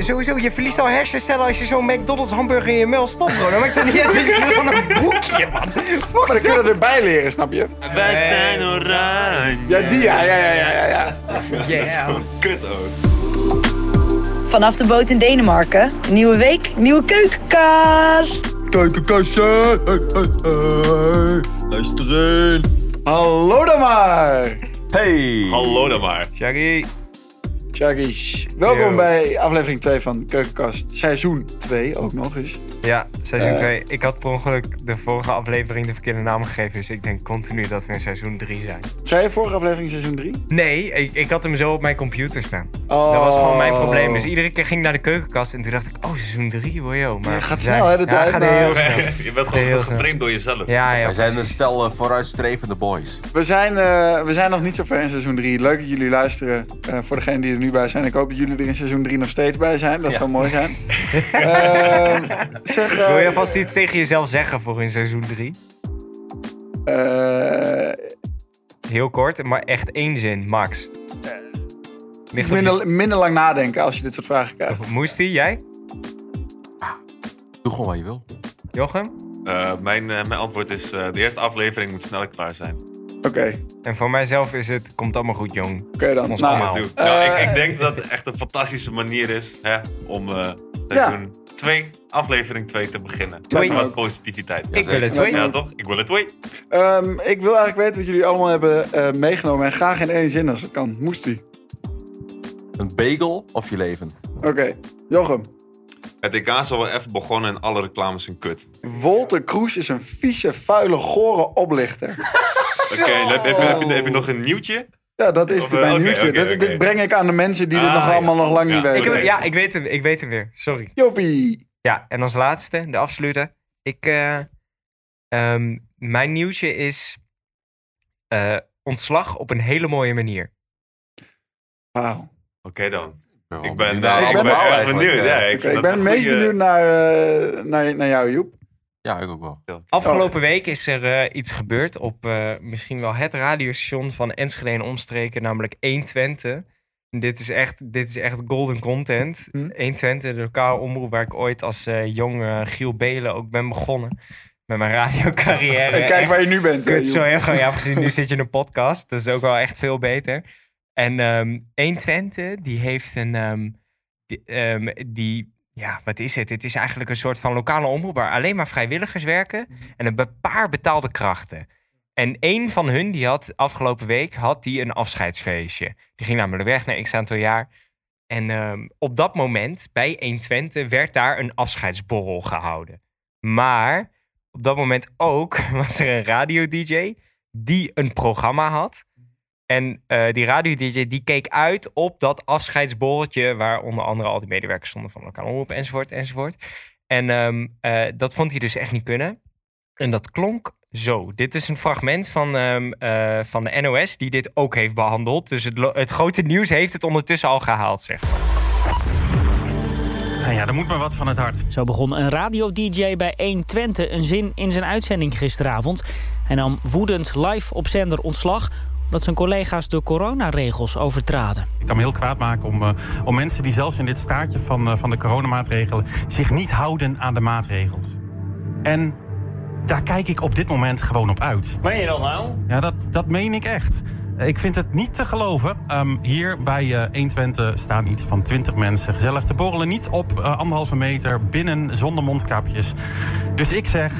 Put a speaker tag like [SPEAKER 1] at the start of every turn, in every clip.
[SPEAKER 1] sowieso, je verliest al hersencellen als je zo'n McDonald's hamburger in je muil stopt, hoor. Dan maakt het niet uit dat je gewoon een boekje, man. Fuck.
[SPEAKER 2] Maar dan kunnen we erbij leren, snap je?
[SPEAKER 3] Wij zijn oranje.
[SPEAKER 2] Ja, die ja, ja, ja, ja, ja. ja.
[SPEAKER 1] Yeah.
[SPEAKER 3] Kut ook.
[SPEAKER 4] Vanaf de boot in Denemarken. Nieuwe week, nieuwe keukenkast.
[SPEAKER 5] Keukenkastje. Hey, hey, hey. Luister in.
[SPEAKER 2] Hallo dan maar!
[SPEAKER 5] Hey.
[SPEAKER 3] Hallo dan maar.
[SPEAKER 1] Shaggy.
[SPEAKER 2] Chuggies. Welkom
[SPEAKER 1] Yo.
[SPEAKER 2] bij aflevering 2 van Keukenkast, seizoen 2 ook nog eens.
[SPEAKER 1] Ja, seizoen
[SPEAKER 2] Eh.
[SPEAKER 1] 2. Ik had per ongeluk de vorige aflevering de verkeerde naam gegeven, dus ik denk continu dat we in seizoen 3 zijn.
[SPEAKER 2] Zei je vorige aflevering seizoen 3?
[SPEAKER 1] Nee, ik, ik had hem zo op mijn computer staan.
[SPEAKER 2] Oh.
[SPEAKER 1] Dat was gewoon mijn probleem. Dus iedere keer ging ik naar de keukenkast en toen dacht ik, oh, seizoen 3, hoor joh. Maar
[SPEAKER 2] Ja, gaat
[SPEAKER 1] we zijn-
[SPEAKER 2] snel, hè, de
[SPEAKER 1] ja,
[SPEAKER 2] tijd
[SPEAKER 1] gaat
[SPEAKER 2] naar-
[SPEAKER 1] heel snel.
[SPEAKER 3] Je bent
[SPEAKER 1] Heel
[SPEAKER 3] gewoon
[SPEAKER 1] snel.
[SPEAKER 3] geframed door jezelf.
[SPEAKER 1] Ja, ja.
[SPEAKER 5] Wij zijn een
[SPEAKER 1] precies.
[SPEAKER 5] stel eh, vooruitstrevende boys.
[SPEAKER 2] We zijn, eh, we zijn nog niet zo ver in seizoen 3. Leuk dat jullie luisteren. Eh, voor degenen die er nu bij zijn, ik hoop dat jullie er in seizoen 3 nog steeds bij zijn. Dat zou mooi zijn. Eh, zeg, eh,
[SPEAKER 1] Wil je vast iets tegen jezelf zeggen voor in seizoen 3?
[SPEAKER 2] eh,
[SPEAKER 1] Heel kort, maar echt één zin, max. Ligt op
[SPEAKER 2] minder, minder lang nadenken als je dit soort vragen krijgt.
[SPEAKER 1] je- Moestie, jij?
[SPEAKER 5] Doe gewoon wat je wil.
[SPEAKER 1] Jochem?
[SPEAKER 3] Eh, mijn, eh, mijn antwoord is, eh, de eerste aflevering moet snel klaar
[SPEAKER 1] Oh.
[SPEAKER 3] zijn.
[SPEAKER 2] Oké, oké
[SPEAKER 1] En voor mijzelf is het, komt allemaal goed, jong.
[SPEAKER 2] dan.
[SPEAKER 1] Ons
[SPEAKER 2] Nou,
[SPEAKER 1] allemaal.
[SPEAKER 3] Doe.
[SPEAKER 2] eh,
[SPEAKER 3] nou, ik, ik denk dat het echt een fantastische manier is hè, om eh, seizoen 2, aflevering 2 te beginnen.
[SPEAKER 1] Twee.
[SPEAKER 3] Met wat positiviteit.
[SPEAKER 1] Ik wil het
[SPEAKER 2] Jazeker.
[SPEAKER 1] twee.
[SPEAKER 3] Ja, toch? Ik wil het twee.
[SPEAKER 2] ehm, ik wil eigenlijk weten wat jullie allemaal hebben eh, meegenomen. En graag in één zin als het kan. Moest die.
[SPEAKER 5] Een bagel of je leven.
[SPEAKER 2] Oké, Jochem.
[SPEAKER 3] Het EK is al wel even begonnen en alle reclames zijn kut.
[SPEAKER 2] Wolter Kroes is een vieze, vuile, gore oplichter.
[SPEAKER 3] Oké, heb, heb, heb, heb je nog een nieuwtje?
[SPEAKER 2] Ja, dat is
[SPEAKER 3] Of,
[SPEAKER 2] mijn
[SPEAKER 3] eh, oké,
[SPEAKER 2] nieuwtje.
[SPEAKER 3] oké,
[SPEAKER 2] dit,
[SPEAKER 3] oké.
[SPEAKER 2] dit breng ik aan de mensen die dit
[SPEAKER 3] Ah,
[SPEAKER 2] nog
[SPEAKER 3] ja.
[SPEAKER 2] allemaal nog lang
[SPEAKER 3] Ja,
[SPEAKER 2] niet
[SPEAKER 1] Ik
[SPEAKER 2] weten.
[SPEAKER 1] heb,
[SPEAKER 3] Oké.
[SPEAKER 1] ja, ik weet hem, ik weet hem weer. Sorry.
[SPEAKER 2] Joppie.
[SPEAKER 1] Ja, en als laatste, de absolute. Ik, eh, ehm, mijn nieuwtje is eh, ontslag op een hele mooie manier.
[SPEAKER 2] Wauw.
[SPEAKER 3] Oké dan. Ik
[SPEAKER 5] wel
[SPEAKER 3] ben,
[SPEAKER 5] benieuwd naar
[SPEAKER 3] eh, ik ben,
[SPEAKER 5] allemaal
[SPEAKER 3] erg
[SPEAKER 5] eigenlijk,
[SPEAKER 3] benieuwd.
[SPEAKER 5] eh.
[SPEAKER 3] Ja, ik,
[SPEAKER 2] Oké,
[SPEAKER 3] vind
[SPEAKER 2] ik
[SPEAKER 3] dat
[SPEAKER 2] ben het
[SPEAKER 3] een
[SPEAKER 2] meest
[SPEAKER 3] goeie-
[SPEAKER 2] benieuwd naar, eh, naar, naar jou, Joep.
[SPEAKER 5] Ja, ik ook wel.
[SPEAKER 1] Afgelopen week is er eh, iets gebeurd op eh, misschien wel het radiostation van Enschede en omstreken, namelijk 120. Dit is echt, dit is echt golden content.
[SPEAKER 2] Hm.
[SPEAKER 1] 120, de lokale omroep waar ik ooit als eh jong eh, Giel Belen ook ben begonnen. Met mijn radiocarrière.
[SPEAKER 2] En kijk
[SPEAKER 1] Echt
[SPEAKER 2] waar je nu bent. eh,
[SPEAKER 1] Kut,
[SPEAKER 2] Joep.
[SPEAKER 1] sorry. Gewoon, ja, precies. Nu zit je in een podcast. Dat is ook wel echt veel beter. En ehm 120, die heeft een... ehm, die, ehm, die, ja, wat is het? Het is eigenlijk een soort van lokale omroep... waar alleen maar vrijwilligers werken... en een be- paar betaalde krachten. En één van hun, die had afgelopen week... had die een afscheidsfeestje. Die ging namelijk weg naar x aantal jaar... En ehm, op dat moment, bij 120, werd daar een afscheidsborrel gehouden. Maar op dat moment ook was er een radio-dj die een programma had. En eh, die radio-dj die keek uit op dat afscheidsborreltje... waar onder andere al die medewerkers stonden van Lokaal Omroep enzovoort enzovoort. En ehm, eh, dat vond hij dus echt niet kunnen. En dat klonk zo. Dit is een fragment van, ehm, eh, van de NOS die dit ook heeft behandeld. Dus het, lo- het grote nieuws heeft het ondertussen al gehaald, zeg maar.
[SPEAKER 6] Nou ja, er moet maar wat van het hart.
[SPEAKER 7] Zo begon een radio-dj bij 120 een zin in zijn uitzending gisteravond. Hij nam woedend live op zender ontslag omdat zijn collega's de coronaregels overtraden.
[SPEAKER 6] Ik kan me heel kwaad maken om, eh, om mensen die zelfs in dit staartje van, eh, van de coronamaatregelen... zich niet houden aan de maatregels. En daar kijk ik op dit moment gewoon op uit. Meen je dat nou? Ja, dat, dat meen ik echt. Ik vind het niet te geloven. Ehm, hier bij eh 120 staan iets van 20 mensen gezellig te borrelen. Niet op eh, anderhalve meter, binnen, zonder mondkapjes. Dus ik zeg,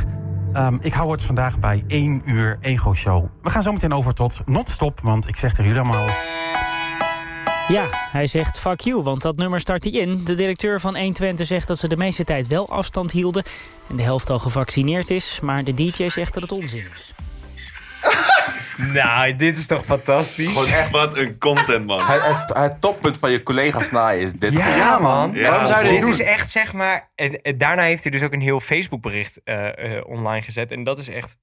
[SPEAKER 6] ehm, ik hou het vandaag bij 1 uur Ego Show. We gaan zo meteen over tot non-stop, want ik zeg tegen jullie allemaal...
[SPEAKER 7] Ja, hij zegt fuck you, want dat nummer start hij in. De directeur van 120 zegt dat ze de meeste tijd wel afstand hielden... en de helft al gevaccineerd is, maar de dj zegt dat het onzin is.
[SPEAKER 1] Nou, dit is toch fantastisch?
[SPEAKER 3] Gewoon echt wat een content, man.
[SPEAKER 5] Het, het, het toppunt van je collega's naaien is dit.
[SPEAKER 1] Ja, man.
[SPEAKER 3] Ja,
[SPEAKER 2] Waarom zou je dit
[SPEAKER 1] Dit
[SPEAKER 2] doen?
[SPEAKER 1] is echt, zeg maar. En, en daarna heeft hij dus ook een heel Facebookbericht bericht eh, online gezet. En dat is echt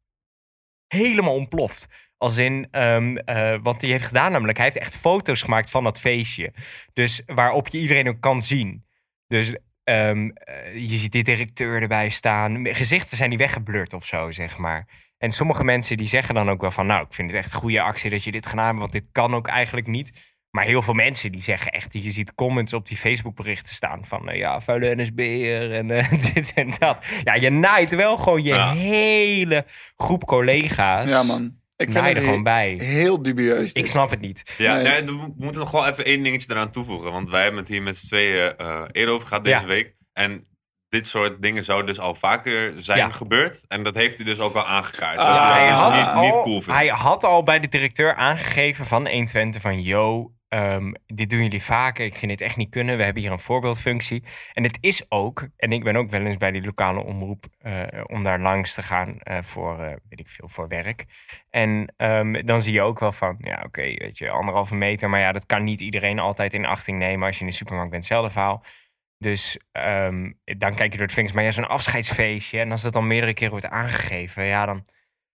[SPEAKER 1] helemaal ontploft. Als in, ehm, eh, wat hij heeft gedaan, namelijk, hij heeft echt foto's gemaakt van dat feestje. Dus waarop je iedereen ook kan zien. Dus ehm, eh, je ziet die directeur erbij staan. Gezichten zijn die weggeblurred of zo, zeg maar. En sommige mensen die zeggen dan ook wel van, nou, ik vind het echt een goede actie dat je dit gedaan hebt, want dit kan ook eigenlijk niet. Maar heel veel mensen die zeggen echt, je ziet comments op die Facebookberichten staan van eh, ja, vuile NSB'er en eh, dit en dat. Ja, je naait wel gewoon je
[SPEAKER 3] Ja.
[SPEAKER 1] hele groep collega's.
[SPEAKER 2] Ja, man. Ik vind
[SPEAKER 1] naai
[SPEAKER 2] het
[SPEAKER 1] er gewoon
[SPEAKER 2] he-
[SPEAKER 1] bij.
[SPEAKER 2] heel dubieus. dit.
[SPEAKER 1] Ik snap het niet.
[SPEAKER 3] Ja,
[SPEAKER 2] Nee.
[SPEAKER 3] nee, we mo- we moeten nog wel even één dingetje eraan toevoegen. Want wij hebben het hier met z'n tweeën eh, eerder over gehad deze
[SPEAKER 1] Ja.
[SPEAKER 3] week. En dit soort dingen zou dus al vaker zijn
[SPEAKER 1] Ja.
[SPEAKER 3] gebeurd. En dat heeft hij dus ook al aangekaart.
[SPEAKER 2] Ah,
[SPEAKER 3] dat
[SPEAKER 1] Ja,
[SPEAKER 3] hij
[SPEAKER 1] hij,
[SPEAKER 3] dat
[SPEAKER 1] had
[SPEAKER 3] dus niet, niet
[SPEAKER 1] al,
[SPEAKER 3] cool vindt.
[SPEAKER 1] hij had al bij de directeur aangegeven van 120 van... yo, ehm, dit doen jullie vaker, ik vind dit echt niet kunnen. We hebben hier een voorbeeldfunctie. En het is ook, en ik ben ook wel eens bij die lokale omroep... eh, om daar langs te gaan eh, voor, eh, weet ik veel, voor werk. En ehm, dan zie je ook wel van, ja oké, weet je, anderhalve meter... maar ja, dat kan niet iedereen altijd in achting nemen... als je in de supermarkt bent, hetzelfde verhaal. Dus ehm, dan kijk je door de vingers. Maar ja, zo'n afscheidsfeestje. En als dat dan meerdere keren wordt aangegeven, ja, dan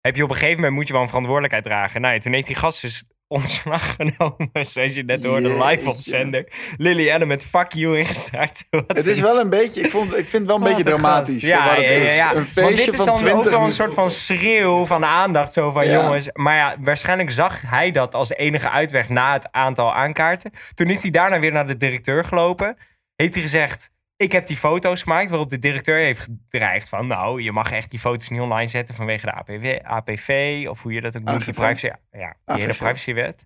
[SPEAKER 1] heb je op een gegeven moment moet je wel een verantwoordelijkheid dragen. Nou ja, toen heeft die gast dus ontslag genomen, zoals je net hoorde, live op
[SPEAKER 2] Jeetje.
[SPEAKER 1] zender. Lily Allen met fuck you ingestart. Wat
[SPEAKER 2] Het
[SPEAKER 1] een-
[SPEAKER 2] is wel een beetje, ik, vond, ik vind het wel een beetje dramatisch. voor
[SPEAKER 1] ja,
[SPEAKER 2] wat het
[SPEAKER 1] ja, ja,
[SPEAKER 2] is.
[SPEAKER 1] ja.
[SPEAKER 2] Een
[SPEAKER 1] Want dit
[SPEAKER 2] feestje
[SPEAKER 1] is
[SPEAKER 2] van
[SPEAKER 1] dan
[SPEAKER 2] 20
[SPEAKER 1] ook wel een
[SPEAKER 2] minuten.
[SPEAKER 1] soort van schreeuw van de aandacht. Zo van
[SPEAKER 2] Ja.
[SPEAKER 1] jongens. Maar ja, waarschijnlijk zag hij dat als enige uitweg na het aantal aankaarten. Toen is hij daarna weer naar de directeur gelopen. Heeft hij gezegd: Ik heb die foto's gemaakt. Waarop de directeur heeft gedreigd: van, Nou, je mag echt die foto's niet online zetten vanwege de APV, APV of hoe je dat ook noemt. Die
[SPEAKER 2] AGV.
[SPEAKER 1] privacy. Ja, ja die hele
[SPEAKER 2] AVG.
[SPEAKER 1] privacywet.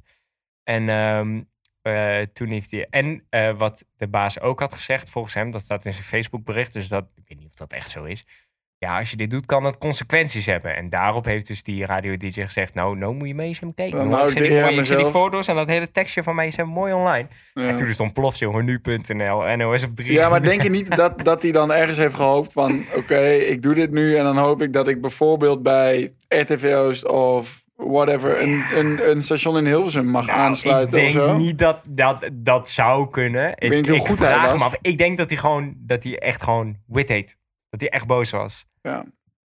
[SPEAKER 1] En ehm, eh, toen heeft hij. En eh, wat de baas ook had gezegd, volgens hem, dat staat in zijn Facebookbericht. Dus dat, ik weet niet of dat echt zo is. Ja, als je dit doet, kan dat consequenties hebben. En daarop heeft dus die radio-dj gezegd: Nou, nou moet je mee eens hem kijken.
[SPEAKER 2] Dan
[SPEAKER 1] jongen.
[SPEAKER 2] hou
[SPEAKER 1] ik zet
[SPEAKER 2] nou, ik
[SPEAKER 1] die,
[SPEAKER 2] de eer aan
[SPEAKER 1] mooie- ik zet die
[SPEAKER 2] mezelf."
[SPEAKER 1] foto's en dat hele tekstje van mij zijn mooi online. En toen
[SPEAKER 2] Ja.
[SPEAKER 1] is het ontploft, jongen, nu.nl, NOS op 3.
[SPEAKER 2] Ja, maar denk je niet dat, dat hij dan ergens heeft gehoopt van... oké, ik doe dit nu en dan hoop ik dat ik bijvoorbeeld bij RTV Oost of whatever... een, een, een station in Hilversum mag
[SPEAKER 1] Nou,
[SPEAKER 2] aansluiten
[SPEAKER 1] ik
[SPEAKER 2] of
[SPEAKER 1] denk
[SPEAKER 2] zo?
[SPEAKER 1] niet dat dat, dat zou kunnen. Ik,
[SPEAKER 2] niet hoe goed hij
[SPEAKER 1] vraag
[SPEAKER 2] was.
[SPEAKER 1] me af. Ik denk dat hij gewoon, dat hij echt gewoon wit heet. Dat hij echt boos was.
[SPEAKER 2] Ja.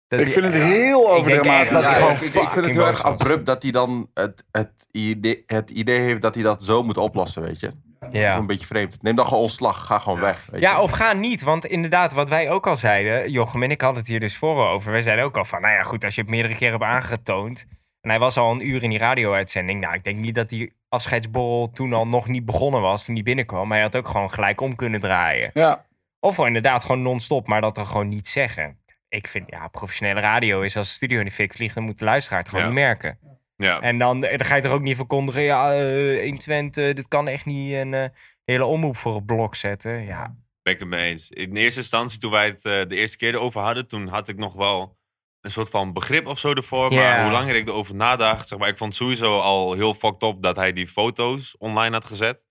[SPEAKER 1] Dat
[SPEAKER 2] Ik
[SPEAKER 1] hij-
[SPEAKER 2] vind het
[SPEAKER 1] ja.
[SPEAKER 2] heel
[SPEAKER 1] Ik denk echt
[SPEAKER 2] overdramatisch.
[SPEAKER 1] dat hij
[SPEAKER 5] Ja,
[SPEAKER 1] gewoon
[SPEAKER 5] ik, ik- ik vind het
[SPEAKER 1] fucking
[SPEAKER 5] heel
[SPEAKER 1] boos
[SPEAKER 5] erg
[SPEAKER 1] was.
[SPEAKER 5] abrupt dat hij dan het, het, idee, het idee heeft dat hij dat zo moet oplossen, weet je.
[SPEAKER 1] Ja.
[SPEAKER 5] Een beetje vreemd. Neem dan gewoon ontslag. Ga gewoon weg. Weet
[SPEAKER 1] Ja,
[SPEAKER 5] je.
[SPEAKER 1] of ga niet. Want inderdaad, wat wij ook al zeiden, Jochem en ik hadden het hier dus voor over. Wij zeiden ook al van, nou ja, goed, als je het meerdere keren hebt aangetoond. En hij was al een uur in die radio-uitzending. Nou, ik denk niet dat die afscheidsborrel toen al nog niet begonnen was, toen die binnenkwam. Maar hij had ook gewoon gelijk om kunnen draaien.
[SPEAKER 2] Ja,
[SPEAKER 1] Of wel inderdaad gewoon non-stop, maar dat dan gewoon niet zeggen. Ik vind, ja, professionele radio is als de studio in de fik vliegt, dan moet de luisteraar het gewoon
[SPEAKER 3] Ja.
[SPEAKER 1] niet merken.
[SPEAKER 3] ja.
[SPEAKER 1] En dan, eh, dan ga je toch ook niet verkondigen, ja, eh 1 Twente, dit kan echt niet. En eh, de hele omroep voor het blok zetten. Ja,
[SPEAKER 3] Ben ik het mee eens. In eerste instantie, toen wij het eh, de eerste keer erover hadden, toen had ik nog wel een soort van begrip of zo ervoor.
[SPEAKER 1] Ja.
[SPEAKER 3] Maar hoe langer ik erover nadacht, zeg maar, ik vond het sowieso al heel fucked up dat hij die foto's online had gezet.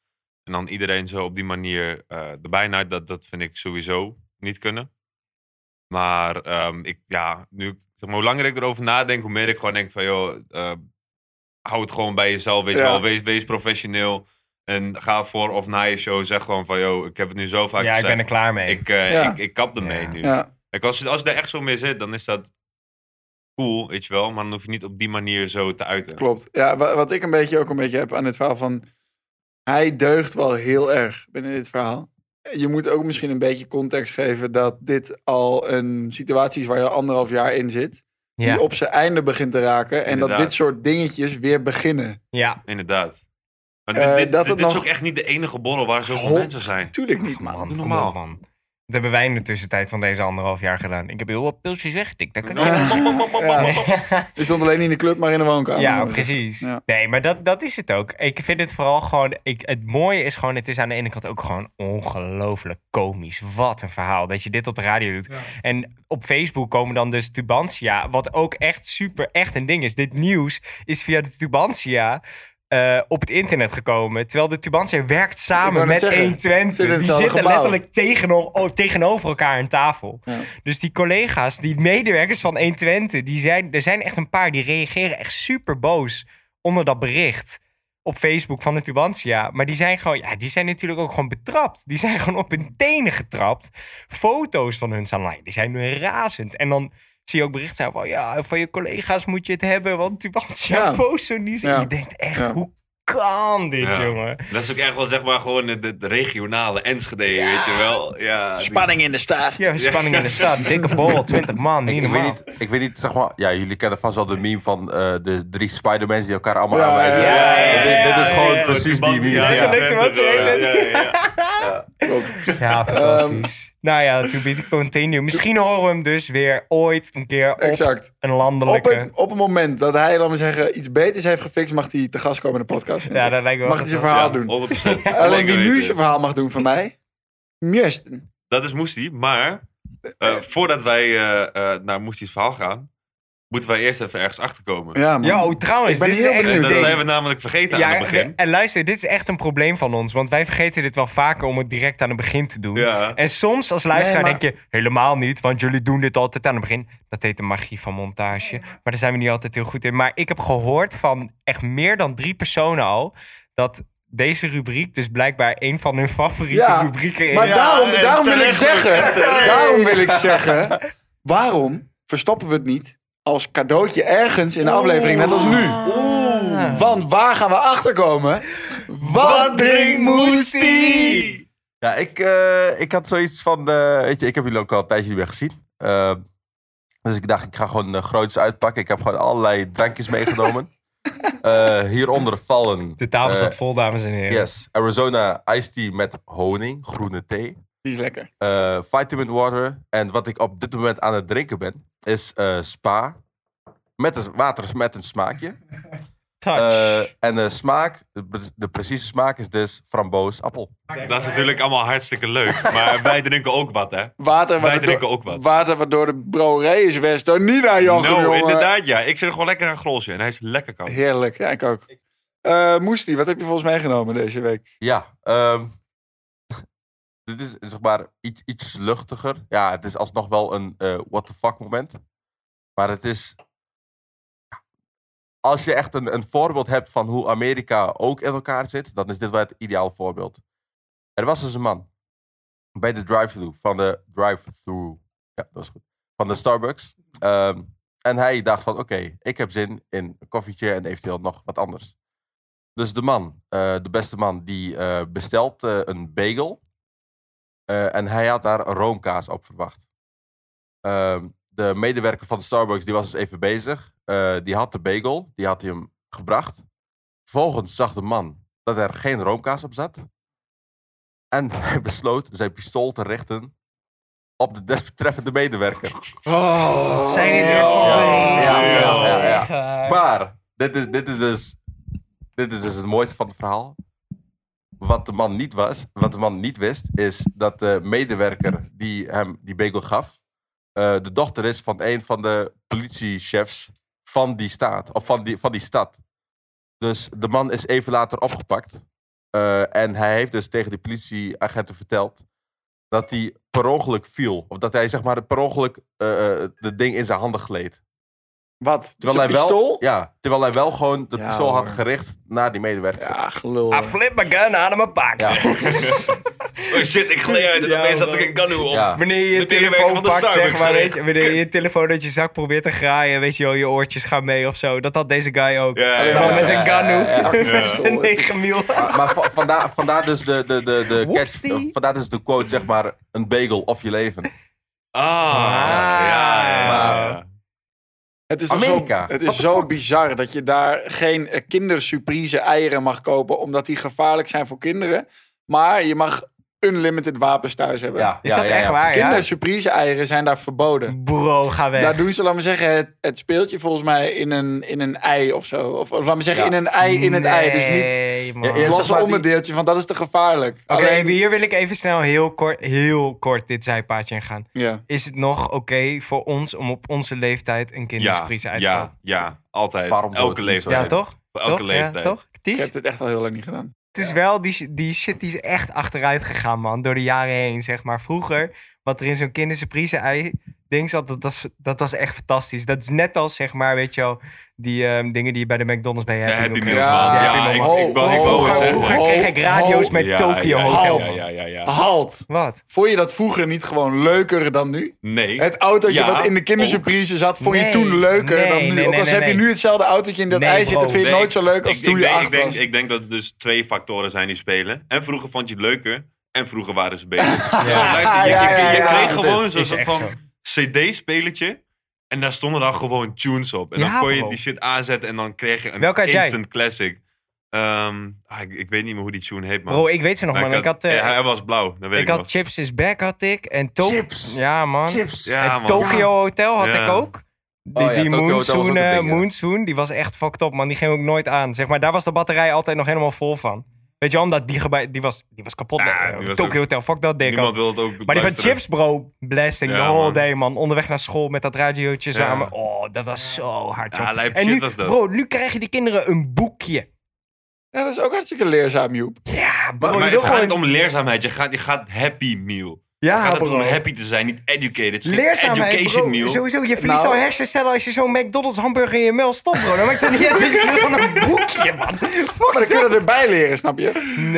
[SPEAKER 3] En dan iedereen zo op die manier eh erbij naait, dat, dat vind ik sowieso niet kunnen. Maar ehm, ik, ja, nu, zeg maar, hoe langer ik erover nadenk, hoe meer ik gewoon denk van, joh, eh, hou het gewoon bij jezelf, weet je
[SPEAKER 2] Ja.
[SPEAKER 3] wel. Wees, wees professioneel en ga voor of na je show, zeg gewoon van, joh, ik heb het nu zo vaak
[SPEAKER 1] ja ik
[SPEAKER 3] gezegd.
[SPEAKER 1] ben er klaar mee.
[SPEAKER 3] Ik, eh,
[SPEAKER 2] Ja.
[SPEAKER 3] ik, ik kap ermee
[SPEAKER 1] Ja.
[SPEAKER 3] nu.
[SPEAKER 2] ja.
[SPEAKER 3] Kijk, als, je- als je er echt zo mee zit, dan is dat cool, weet je wel. Maar dan hoef je niet op die manier zo te uiten.
[SPEAKER 2] Klopt. Ja, wat, wat ik een beetje ook een beetje heb aan dit verhaal van... Hij deugt wel heel erg binnen dit verhaal. Je moet ook misschien een beetje context geven dat dit al een situatie is waar je anderhalf jaar in zit.
[SPEAKER 1] ja.
[SPEAKER 2] Die op zijn einde begint te raken. En dat
[SPEAKER 3] Inderdaad.
[SPEAKER 2] dit soort dingetjes weer beginnen.
[SPEAKER 1] ja.
[SPEAKER 3] Inderdaad. Maar
[SPEAKER 2] Eh,
[SPEAKER 3] dit, dit,
[SPEAKER 2] dat het
[SPEAKER 3] dit is
[SPEAKER 2] nog-
[SPEAKER 3] ook echt niet de enige borrel waar zoveel
[SPEAKER 2] Hop.
[SPEAKER 3] mensen zijn.
[SPEAKER 2] Tuurlijk niet, man.
[SPEAKER 1] Man,
[SPEAKER 3] Doe
[SPEAKER 1] normaal.
[SPEAKER 3] normaal.
[SPEAKER 1] man. Dat hebben wij in de tussentijd van deze anderhalf jaar gedaan. Ik heb heel wat pilsjes weggetikt. Dat kan ik
[SPEAKER 2] Ja.
[SPEAKER 1] niet. Ja.
[SPEAKER 2] Je stond alleen niet in de club, maar in de woonkamer.
[SPEAKER 1] Ja, precies.
[SPEAKER 2] Ja.
[SPEAKER 1] Nee, maar dat, dat is het ook. Ik vind het vooral gewoon... Ik, het mooie is gewoon... Het is aan de ene kant ook gewoon ongelooflijk komisch. Wat een verhaal dat je dit op de radio doet. En op Facebook komen dan dus Tubantia... Wat ook echt super echt een ding is. Dit nieuws is via de Tubantia... eh, op het internet gekomen. Terwijl de Tubantia werkt samen
[SPEAKER 2] net
[SPEAKER 1] met
[SPEAKER 2] zeggen,
[SPEAKER 1] 120.
[SPEAKER 2] zitten in
[SPEAKER 1] die
[SPEAKER 2] hetzelfde
[SPEAKER 1] zitten
[SPEAKER 2] gebouw.
[SPEAKER 1] letterlijk tegeno- o- tegenover elkaar aan tafel.
[SPEAKER 2] Ja.
[SPEAKER 1] Dus die collega's, die medewerkers van 120, die zijn, er zijn echt een paar die reageren echt super boos onder dat bericht op Facebook van de Tubantia. Maar die zijn gewoon, ja, die zijn natuurlijk ook gewoon betrapt. Die zijn gewoon op hun tenen getrapt. Foto's van hun staan online. Die zijn nu razend. En dan zie je ook berichten staan van, ja, van je collega's moet je het hebben, want Tubantia
[SPEAKER 2] Ja.
[SPEAKER 1] post zo'n nieuws. En
[SPEAKER 2] Ja.
[SPEAKER 1] je denkt echt,
[SPEAKER 2] Ja.
[SPEAKER 1] hoe kan dit,
[SPEAKER 3] Ja.
[SPEAKER 1] jongen?
[SPEAKER 3] Dat is ook echt wel zeg maar gewoon het, het regionale Enschede, weet je wel. Ja, die-
[SPEAKER 2] Spanning in de staart.
[SPEAKER 1] Ja, spanning in de stad. Dikke bol, 20 man. Niet
[SPEAKER 5] Ik, ik, weet
[SPEAKER 1] normaal.
[SPEAKER 5] niet, ik weet niet, zeg maar... Ja, jullie kennen vast wel de meme van eh, de drie Spider-Mans die elkaar allemaal
[SPEAKER 2] Ja,
[SPEAKER 5] aanwijzen.
[SPEAKER 2] ja, ja,
[SPEAKER 1] ja,
[SPEAKER 5] Dit- dit,
[SPEAKER 1] ja,
[SPEAKER 5] is
[SPEAKER 1] ja,
[SPEAKER 5] gewoon
[SPEAKER 1] ja,
[SPEAKER 5] precies die
[SPEAKER 3] Twente,
[SPEAKER 5] meme.
[SPEAKER 3] ja,
[SPEAKER 5] ja.
[SPEAKER 1] Dat lukt hem ook,
[SPEAKER 3] Twente,
[SPEAKER 1] dat lukt
[SPEAKER 3] ja, ja, ja.
[SPEAKER 2] Klopt.
[SPEAKER 1] Ja, fantastisch. nou ja, to be continued. Misschien horen we hem dus weer ooit een keer op
[SPEAKER 2] Exact.
[SPEAKER 1] een
[SPEAKER 2] Op
[SPEAKER 1] landelijke...
[SPEAKER 2] het, op het moment dat hij, laten we zeggen, iets beters heeft gefixt, mag hij te gast komen in de podcast.
[SPEAKER 1] ja, dat lijkt me wel
[SPEAKER 2] mag hij zijn
[SPEAKER 1] gezellig.
[SPEAKER 2] verhaal
[SPEAKER 3] Ja,
[SPEAKER 2] doen.
[SPEAKER 3] 100%.
[SPEAKER 2] Alleen
[SPEAKER 3] Zeker
[SPEAKER 2] wie nu
[SPEAKER 3] weten.
[SPEAKER 2] zijn verhaal mag doen van mij, Mjusten.
[SPEAKER 3] Dat is Moestie, maar eh, voordat wij eh, eh, naar Moestie's verhaal gaan, moeten wij eerst even ergens achterkomen.
[SPEAKER 2] Ja, man.
[SPEAKER 1] Ja, oh, trouwens,
[SPEAKER 2] Ik ben
[SPEAKER 1] dit is
[SPEAKER 2] heel
[SPEAKER 1] echt
[SPEAKER 2] benieuwd.
[SPEAKER 1] een
[SPEAKER 3] En dat
[SPEAKER 1] ding.
[SPEAKER 3] zijn we namelijk vergeten aan het
[SPEAKER 1] Ja,
[SPEAKER 3] begin.
[SPEAKER 1] en luister, dit is echt een probleem van ons. Want wij vergeten dit wel vaker om het direct aan het begin te doen.
[SPEAKER 3] Ja.
[SPEAKER 1] En soms als luisteraar
[SPEAKER 2] Nee, maar-
[SPEAKER 1] denk je, helemaal niet, want jullie doen dit altijd aan het begin. Dat heet de magie van montage. Maar daar zijn we niet altijd heel goed in. Maar ik heb gehoord van echt meer dan drie personen al, dat deze rubriek dus blijkbaar een van hun favoriete
[SPEAKER 2] Ja,
[SPEAKER 1] rubrieken
[SPEAKER 2] Maar
[SPEAKER 1] is.
[SPEAKER 2] daarom,
[SPEAKER 3] en
[SPEAKER 2] daarom wil ik
[SPEAKER 3] terecht ook.
[SPEAKER 2] zeggen, daarom wil ik zeggen, waarom verstoppen we het niet als cadeautje ergens in de aflevering, net als nu? Want waar gaan we achterkomen? Wat drinkt Moestie?
[SPEAKER 5] Ja, ik, eh, ik had zoiets van... eh, weet je, ik heb jullie ook al een tijdje niet meer gezien. Eh, dus ik dacht, ik ga gewoon eh, groots uitpakken. Ik heb gewoon allerlei drankjes meegenomen. Eh, hieronder vallen...
[SPEAKER 1] De tafel
[SPEAKER 5] eh,
[SPEAKER 1] zat vol, dames en heren.
[SPEAKER 5] Yes, Arizona iced tea met honing, groene thee,
[SPEAKER 2] Die is lekker.
[SPEAKER 5] eh, vitamin water. En wat ik op dit moment aan het drinken ben, is eh, spa. Met een, water met een smaakje.
[SPEAKER 1] Touch.
[SPEAKER 5] Eh, en de smaak, de, pre- de precieze smaak is dus framboos appel.
[SPEAKER 3] Dat is natuurlijk allemaal hartstikke leuk, maar wij drinken ook wat, hè?
[SPEAKER 2] Water,
[SPEAKER 3] Wij
[SPEAKER 2] waardoor-
[SPEAKER 3] drinken ook wat.
[SPEAKER 2] Water waardoor de brouwerij is Westo niet aan
[SPEAKER 3] Nou,
[SPEAKER 2] Jochem, jongen.
[SPEAKER 3] inderdaad, ja. Ik zit gewoon lekker aan een glaasje en hij is lekker koud.
[SPEAKER 2] Heerlijk, ja, ik ook. Eh, Moestie, wat heb je volgens mij genomen deze week?
[SPEAKER 5] Ja, ehm, dit is zeg maar iets, iets luchtiger. Ja, het is alsnog wel een eh, what the fuck moment. Maar het is... Als je echt een, een voorbeeld hebt van hoe Amerika ook in elkaar zit, dan is dit wel het ideaal voorbeeld. Er was dus een man bij de drive-thru van de drive-thru. Ja, dat is goed. Van de Starbucks. Ehm, en hij dacht van, oké, ik heb zin in een koffietje en eventueel nog wat anders. Dus de man, eh, de beste man, die eh, bestelt eh, een bagel. Eh, en hij had daar roomkaas op verwacht. Ehm, de medewerker van de Starbucks die was dus even bezig. Eh, die had de bagel, die had hij hem gebracht. Vervolgens zag de man dat er geen roomkaas op zat. En hij besloot zijn pistool te richten op de desbetreffende medewerker.
[SPEAKER 2] Oh,
[SPEAKER 1] zijn dit weer
[SPEAKER 2] ja.
[SPEAKER 1] favorieten?
[SPEAKER 5] ja, ja, ja, ja.
[SPEAKER 1] Ga-
[SPEAKER 5] Maar, dit is, dit, is dus, dit is dus het mooiste van het verhaal. Wat de man niet was, wat de man niet wist, is dat de medewerker die hem die bagel gaf, eh, de dochter is van een van de politiechefs van die staat, of van die, van die stad. Dus de man is even later opgepakt. Eh, en hij heeft dus tegen de politieagenten verteld dat hij per ongeluk viel. Of dat hij zeg maar per ongeluk eh, eh, het ding in zijn handen gleed.
[SPEAKER 2] Wat?
[SPEAKER 5] Terwijl hij, wel, ja, terwijl hij wel gewoon de
[SPEAKER 2] Ja,
[SPEAKER 5] pistool had
[SPEAKER 2] hoor.
[SPEAKER 5] gericht naar die medewerker.
[SPEAKER 2] Ja, gelul.
[SPEAKER 1] I flip my gun out of my pocket.
[SPEAKER 5] Ja.
[SPEAKER 3] Oh shit, ik gleed uit en
[SPEAKER 1] Ja,
[SPEAKER 3] opeens had
[SPEAKER 1] man.
[SPEAKER 3] ik een kanu op.
[SPEAKER 5] Ja.
[SPEAKER 1] Wanneer je je
[SPEAKER 3] De medewerker
[SPEAKER 1] telefoon
[SPEAKER 3] van de
[SPEAKER 1] pakt,
[SPEAKER 3] Starbucks,
[SPEAKER 1] zeg maar,
[SPEAKER 3] sorry.
[SPEAKER 1] weet je, wanneer je je telefoon uit je zak probeert te graaien, weet je wel, je oortjes gaan mee of zo. Dat had deze guy ook.
[SPEAKER 3] Ja, ja,
[SPEAKER 1] Maar
[SPEAKER 5] ja.
[SPEAKER 1] met een Ganu,
[SPEAKER 5] Ja,
[SPEAKER 3] ja.
[SPEAKER 1] met een 9 mil.
[SPEAKER 5] Maar, Ah, maar va- vandaar, vandaar dus de, de, de, de catch,
[SPEAKER 1] Whoopsie.
[SPEAKER 5] eh, vandaar dus de quote, zeg maar, een bagel of je leven.
[SPEAKER 3] Ah, ja, ja, ja.
[SPEAKER 5] Maar-
[SPEAKER 2] Het is toch
[SPEAKER 5] Amerika.
[SPEAKER 2] Zo, het
[SPEAKER 5] What
[SPEAKER 2] is
[SPEAKER 5] the
[SPEAKER 2] zo
[SPEAKER 5] fuck?
[SPEAKER 2] bizar dat je daar geen eh, kindersurprise eieren mag kopen, omdat die gevaarlijk zijn voor kinderen. Maar je mag unlimited wapens thuis hebben.
[SPEAKER 5] Ja,
[SPEAKER 1] Is
[SPEAKER 5] ja,
[SPEAKER 1] dat
[SPEAKER 5] ja,
[SPEAKER 1] echt
[SPEAKER 5] ja.
[SPEAKER 1] waar, ja?
[SPEAKER 2] Kindersurprise eieren zijn daar verboden. Nou,
[SPEAKER 1] Bro, ga weg.
[SPEAKER 2] Daar doen ze, laat maar zeggen, het, het speeltje volgens mij in een, in een ei of zo. Of laat maar zeggen,
[SPEAKER 5] Ja.
[SPEAKER 2] in een ei, in het ei. Dus niet
[SPEAKER 1] Nee, man.
[SPEAKER 5] Ja, ja,
[SPEAKER 2] een
[SPEAKER 5] zeg
[SPEAKER 2] losse
[SPEAKER 5] maar die-
[SPEAKER 2] onderdeeltje van dat is te gevaarlijk.
[SPEAKER 1] Oké,
[SPEAKER 2] Alleen-
[SPEAKER 1] hier wil ik even snel heel kort, heel kort dit zijpaadje in gaan.
[SPEAKER 2] ja.
[SPEAKER 1] Is het nog oké voor ons om op onze leeftijd een
[SPEAKER 3] Ja,
[SPEAKER 1] kinderspries uit te
[SPEAKER 3] ja,
[SPEAKER 1] halen?
[SPEAKER 3] ja, altijd.
[SPEAKER 5] Waarom zou
[SPEAKER 3] Elke
[SPEAKER 5] het niet
[SPEAKER 1] Ja,
[SPEAKER 5] zo
[SPEAKER 3] leeftijd.
[SPEAKER 1] toch?
[SPEAKER 3] Voor elke
[SPEAKER 1] toch? Ja,
[SPEAKER 3] leeftijd.
[SPEAKER 1] toch?
[SPEAKER 2] Ik
[SPEAKER 1] Ties?
[SPEAKER 2] heb dit echt al heel lang niet gedaan.
[SPEAKER 1] Het is wel, die, sh- die shit die is echt achteruit gegaan, man. Door de jaren heen, zeg maar. Vroeger, wat er in zo'n kindersurprise ei ding zat, dat was, dat was echt fantastisch. Dat is net als, zeg maar, weet je wel, die ehm, dingen die je bij de McDonald's bij hebt.
[SPEAKER 3] Happy
[SPEAKER 1] Meal
[SPEAKER 3] Meals,
[SPEAKER 1] krijgt.
[SPEAKER 3] man.
[SPEAKER 2] Ja,
[SPEAKER 3] Ja, ik,
[SPEAKER 2] Happy
[SPEAKER 3] ik, wou- ik
[SPEAKER 2] Meals.
[SPEAKER 3] wou
[SPEAKER 2] Oh, oh,
[SPEAKER 3] het zeggen.
[SPEAKER 1] Vroeger
[SPEAKER 2] oh.
[SPEAKER 1] kreeg ik radio's
[SPEAKER 2] ho,
[SPEAKER 1] met
[SPEAKER 3] Ja,
[SPEAKER 1] Tokyo
[SPEAKER 3] ja,
[SPEAKER 1] Hotel.
[SPEAKER 3] Ja, ja, ja, ja.
[SPEAKER 2] Halt!
[SPEAKER 1] Wat?
[SPEAKER 2] Vond je dat vroeger niet gewoon leuker dan nu?
[SPEAKER 3] Nee.
[SPEAKER 2] Het autootje
[SPEAKER 3] Ja,
[SPEAKER 2] dat in de kindersurprise zat, vond je
[SPEAKER 1] Nee,
[SPEAKER 2] toen leuker
[SPEAKER 1] nee,
[SPEAKER 2] dan nu?
[SPEAKER 1] nee,
[SPEAKER 2] Ook al
[SPEAKER 1] nee,
[SPEAKER 2] heb
[SPEAKER 1] nee,
[SPEAKER 2] je
[SPEAKER 1] nee.
[SPEAKER 2] nu hetzelfde autootje in dat
[SPEAKER 1] Nee,
[SPEAKER 2] ei zitten,
[SPEAKER 1] bro.
[SPEAKER 2] vind je het
[SPEAKER 3] Nee,
[SPEAKER 2] nooit zo leuk als
[SPEAKER 3] ik,
[SPEAKER 2] toen
[SPEAKER 3] ik,
[SPEAKER 2] je
[SPEAKER 3] denk-
[SPEAKER 2] acht
[SPEAKER 3] ik, denk,
[SPEAKER 2] was.
[SPEAKER 3] ik denk dat er dus twee factoren zijn die spelen. En vroeger vond je het leuker. En vroeger waren ze beter.
[SPEAKER 1] Ja.
[SPEAKER 3] Luister, je,
[SPEAKER 2] Ja,
[SPEAKER 3] je- je
[SPEAKER 2] ja, ja.
[SPEAKER 3] kreeg
[SPEAKER 1] Ja, dat
[SPEAKER 3] gewoon
[SPEAKER 1] is-
[SPEAKER 3] zo'n
[SPEAKER 1] is
[SPEAKER 3] soort
[SPEAKER 1] echt
[SPEAKER 3] van
[SPEAKER 1] zo.
[SPEAKER 3] cd-spelertje. En daar stonden dan gewoon tunes op. En
[SPEAKER 1] Ja,
[SPEAKER 3] dan kon je
[SPEAKER 1] bro.
[SPEAKER 3] die shit aanzetten en dan kreeg je een
[SPEAKER 1] Welke had jij?
[SPEAKER 3] instant classic. Ehm, ah, ik, ik weet niet meer hoe die tune heet, man.
[SPEAKER 1] Bro, ik weet ze nog,
[SPEAKER 3] Maar
[SPEAKER 1] man. Ik had, eh,
[SPEAKER 3] ja, hij was blauw, dat weet ik,
[SPEAKER 1] ik had
[SPEAKER 3] nog.
[SPEAKER 1] Chips is Back, had ik. En Tokyo.
[SPEAKER 5] Chips.
[SPEAKER 1] Ja, man.
[SPEAKER 5] Chips.
[SPEAKER 3] Ja,
[SPEAKER 1] en
[SPEAKER 3] man.
[SPEAKER 1] Tokyo Hotel had
[SPEAKER 3] Ja.
[SPEAKER 1] ik ook. Die,
[SPEAKER 5] Oh ja,
[SPEAKER 1] die
[SPEAKER 5] Tokyo Hotel was ook
[SPEAKER 1] Moonsoon,
[SPEAKER 5] een
[SPEAKER 1] eh,
[SPEAKER 5] ding, ja.
[SPEAKER 1] Moonsoon, die was echt fucked up, man. Die ging ook nooit aan. Zeg maar, daar was de batterij altijd nog helemaal vol van. Weet je, wel, omdat die, gebe- die, was, die was kapot.
[SPEAKER 3] Ja,
[SPEAKER 1] Eh,
[SPEAKER 3] die was
[SPEAKER 1] Tokyo
[SPEAKER 3] ook-
[SPEAKER 1] Hotel, fuck dat dik.
[SPEAKER 3] Niemand wil het ook
[SPEAKER 1] Maar die van
[SPEAKER 3] luisteren.
[SPEAKER 1] Chips, bro. Blessing, the
[SPEAKER 3] Ja,
[SPEAKER 1] whole
[SPEAKER 3] man.
[SPEAKER 1] day, man. Onderweg naar school met dat radiootje
[SPEAKER 3] Ja.
[SPEAKER 1] samen. Oh, dat was zo hard,
[SPEAKER 3] Ja,
[SPEAKER 1] joh.
[SPEAKER 3] lijp
[SPEAKER 1] en
[SPEAKER 3] shit
[SPEAKER 1] nu,
[SPEAKER 3] was dat.
[SPEAKER 1] bro, nu krijgen die kinderen een boekje.
[SPEAKER 2] Ja, dat is ook hartstikke leerzaam, Joep.
[SPEAKER 1] Ja, bro.
[SPEAKER 3] Maar,
[SPEAKER 1] je
[SPEAKER 3] maar
[SPEAKER 1] wil
[SPEAKER 3] het gaat
[SPEAKER 1] gewoon...
[SPEAKER 3] niet om leerzaamheid. Je gaat, je gaat happy meal.
[SPEAKER 1] Ja,
[SPEAKER 3] het gaat
[SPEAKER 1] bro.
[SPEAKER 3] erom happy te zijn, niet educated. Het is geen
[SPEAKER 1] Leerzaamheid,
[SPEAKER 3] education
[SPEAKER 1] bro.
[SPEAKER 3] meal.
[SPEAKER 1] Sowieso, je verliest
[SPEAKER 2] Nou.
[SPEAKER 1] al hersencellen als je zo'n McDonald's hamburger in je mail stopt, bro. Dan maakt het niet uit. Het is gewoon een boekje, man. Fuck.
[SPEAKER 2] Maar dan kun je dat erbij leren, snap je?
[SPEAKER 1] Nou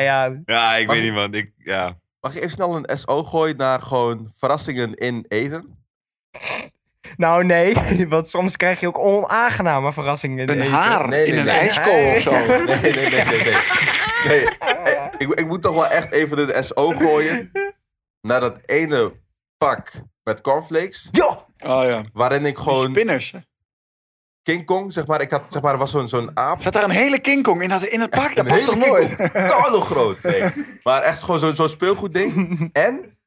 [SPEAKER 1] ja.
[SPEAKER 3] Ja, ik
[SPEAKER 5] Maar-
[SPEAKER 3] weet niet, man. Ik, ja.
[SPEAKER 5] Mag ik even snel een SO gooien naar gewoon verrassingen in eten?
[SPEAKER 1] Nou nee, want soms krijg je ook onaangename verrassingen.
[SPEAKER 2] Een
[SPEAKER 1] in eten.
[SPEAKER 2] haar
[SPEAKER 5] Nee, nee,
[SPEAKER 2] in een
[SPEAKER 5] nee.
[SPEAKER 2] ijskool of zo.
[SPEAKER 5] Nee, nee, nee, nee. nee, nee. Nee, eh, ik, ik moet toch wel echt even de SO gooien naar dat ene pak met cornflakes.
[SPEAKER 1] Ja,
[SPEAKER 2] Oh ja,
[SPEAKER 5] Waarin ik
[SPEAKER 2] die
[SPEAKER 5] gewoon
[SPEAKER 2] spinners.
[SPEAKER 5] King Kong, zeg maar, ik had, zeg maar, er was zo'n zo'n aap.
[SPEAKER 2] Zat daar een hele King Kong in dat, in het park? Dat
[SPEAKER 5] Een
[SPEAKER 2] past toch
[SPEAKER 5] hele
[SPEAKER 2] nooit?
[SPEAKER 5] King Kong. Koude groot. Nee. Maar echt gewoon zo'n zo'n speelgoedding. En